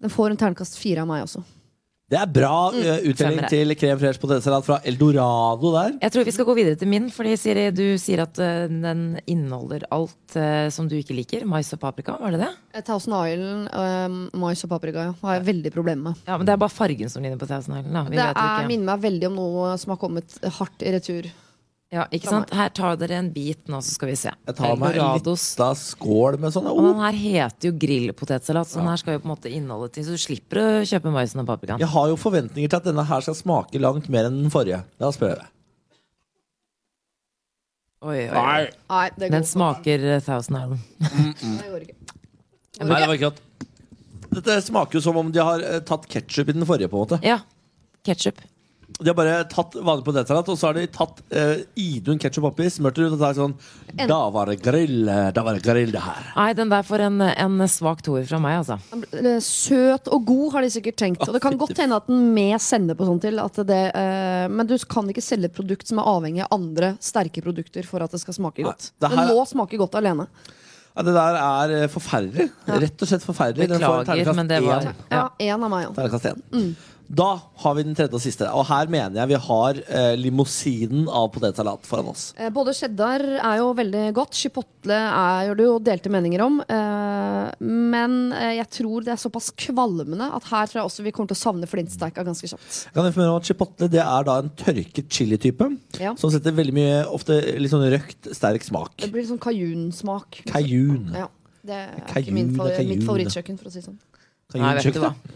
F: den får en terningkast fire av meg også.
E: Det er bra eh, uttelling
B: Mm, Femmer her.
E: til krem fresh potetsalat fra Eldorado der.
B: Jeg tror vi skal gå videre til min, fordi Siri, du sier at eh, den inneholder alt eh, som du ikke liker. Mais og paprika, var det det?
F: Eh, Thousand Island, eh, mais og paprika ja, har jeg veldig problemer med.
B: Ja, men Det er bare fargen som ligner på Thousand Island. Da. Vi
F: Det
B: vet jo
F: er,
B: ikke.
F: minner meg veldig om noe som har kommet hardt i retur.
B: Ja, ikke sant? Her tar dere en bit nå, så skal vi se.
E: Jeg tar meg en
B: Eldorados.
E: lita skål med sånn.
B: Og den
E: Oh,
B: her heter jo grillpotetsalat, så den her skal jo på en måte inneholde ting. Så du slipper å kjøpe maisen og paprikaen.
E: jeg har jo forventninger til at denne her skal smake langt mer enn den forrige. Da spør jeg deg.
B: Oi, oi, oi.
F: Nei, det går
B: Den smaker eh, Thousand Island.
F: ikke. Det går ikke.
E: Nei, det var ikke godt. Dette smaker jo som om de har eh, tatt ketsjup i den forrige. på en måte
B: Ja. Ketsjup.
E: De har bare tatt vanlig potetsalat, og så har de tatt eh, Idun ketsjup oppi, smurt det ut og sagt sånn Da var det grill, eh, da var det grill, det her.
B: Nei, den der får en, en svak toer fra meg, altså.
F: Eh, Søt og god har de sikkert tenkt. Og det kan godt hende at den med sennep og sånn til. At det, eh, men du kan ikke selge et produkt som er avhengig av andre sterke produkter for at det skal smake godt.
E: det her-
F: Den må smake godt alene.
E: Ja, det der er eh, forferdelig. Rett og slett forferdelig. Den får en
B: Beklager,
E: terningkast
B: men det var
E: én.
F: Ja, en av meg òg.
E: Terningkast én.
F: Mm.
E: Da har vi den tredje og siste. Og her mener jeg vi har eh, limousinen av potetsalat foran oss.
F: Eh, Både cheddar er jo veldig godt. Chipotle er jo det jo delte meninger om. eh, Men eh, jeg tror det er såpass kvalmende at her tror jeg også vi kommer til å savne flintsteika ganske kjapt.
E: Jeg kan informere om at Chipotle det er da en tørket chilitype
F: Ja.
E: som setter veldig mye ofte litt sånn røkt, sterk smak.
F: Det blir litt sånn kajunsmak.
E: Cajun.
F: Ja, det er
E: Cajun,
F: ikke min
E: det er
F: favori,
E: cajun,
F: mitt
E: det.
F: favorittkjøkken, for å si det sånn.
B: Nei,
E: Cajun
B: vet du hva.
E: kjøkken.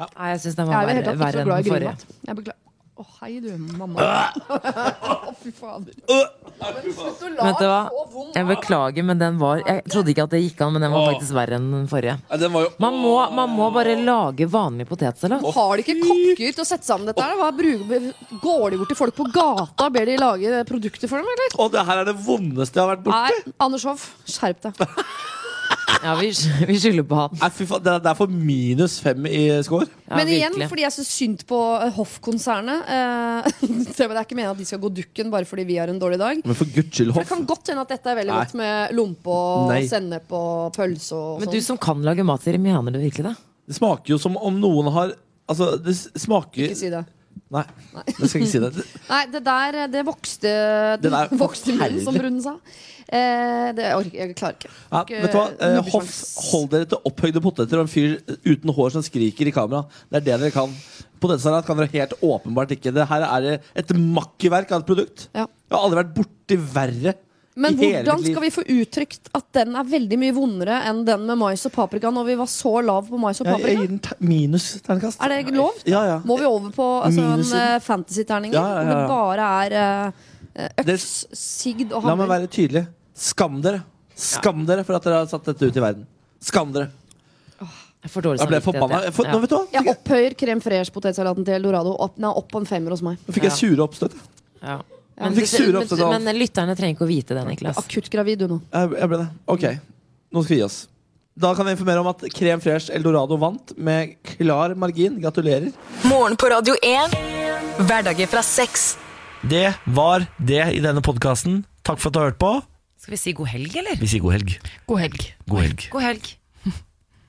B: Nei, jeg syns den
F: Jeg
B: var
F: er jo helt
B: verre,
F: tatt ikke
B: verre enn
F: så glad i
B: den forrige.
F: grillmat. Jeg beklager. Å, hei du, mamma. Å, fy fader. Men Slutt å
B: Vet du
F: lage
B: hva?
F: så vond
B: Jeg beklager, men den var Jeg trodde ikke at det gikk an, men den var faktisk verre enn den forrige.
E: Ja, den var jo
B: Man må, man må bare lage vanlig potetsalat.
F: Har de ikke kokker til å sette sammen dette her? Hva bruker- Går de bort til folk på gata og ber de lage produkter for dem, eller?
E: Å, det her er det vondeste jeg har vært borti.
F: Nei, Anders Hoff, skjerp deg.
B: Ja, vi, vi skylder på han.
E: Nei, fy faen, det er- det er for minus fem i score.
B: Ja,
F: Men igjen,
B: virkelig.
F: fordi jeg syns synd på eh, Hoff-konsernet. eh, Det er ikke meningen at de skal gå dukken bare fordi vi har en dårlig dag.
E: Men for guds skyld,
F: For det
E: Hoff.
F: kan godt hende at dette er veldig
E: Nei.
F: godt med lompe og
E: Nei.
F: sennep og pølse og
B: Men du
F: sånn.
B: som kan lage mat, Siri, mener du virkelig det?
E: Det smaker jo som om noen har Altså, det s- smaker
F: Ikke si det.
E: Nei, jeg skal ikke si det.
F: Nei, det der eh, det vokste
E: Den er
F: vokste i munnen, som
E: forferdelig.
F: Brun sa. Eh, det jeg orker jeg klarer ikke.
E: Ja,
F: Ikke-
E: vet du hva? Eh,
F: nubbesjans.
E: Hoff, hold dere til opphøyde poteter og en fyr uten hår som skriker i kamera. Det er det dere kan. Potetsalat kan dere helt åpenbart ikke. Det her er et makkverk av et produkt.
F: Ja.
E: Jeg har aldri vært borti verre.
F: Men
E: i hele
F: hvordan
E: mitt liv.
F: skal vi få uttrykt at den er veldig mye vondere enn den med mais og paprika, når vi var så lav på mais og
E: Jeg, jeg
F: paprika?
E: gir den te- minus terningkast.
F: Er det lov?
E: Ja, ja.
F: Må vi over på altså, en
E: Minusen.
F: eh, fantasy-terning
E: Ja, ja, ja.
F: hvor det bare er eh,
E: Det-
F: øks, sigd og
E: La meg
F: hammer?
E: være tydelig. Skam dere. Skam dere for at dere har satt dette ut i verden. Skam dere.
B: Jeg får dårlig
E: Jeg ble forbanna. Jeg får- Nå, vet du hva?
F: Jeg
E: Fikk jeg,
F: opphøyer krem fresh-potetsalaten til Eldorado opp, nei, opp på en femmer hos meg.
E: nå fikk jeg sure oppstøt.
B: Ja.
E: Jeg
B: Men,
E: fikk sure
B: men,
E: oppstøt av
B: men lytterne trenger ikke å vite det, Niklas.
F: Akutt gravid, du nå.
E: Jeg, Eh, jeg ble det. Ok, nå skal vi gi oss. Da kan jeg informere om at Krem Fresh Eldorado vant med klar margin. Gratulerer.
D: Morgen på Radio 1. Hverdager fra seks.
A: Det var det i denne podkasten. Takk for at du har hørt på.
B: Skal vi si god helg, eller?
A: Vi sier god helg.
B: God helg.
A: God helg.
B: God helg.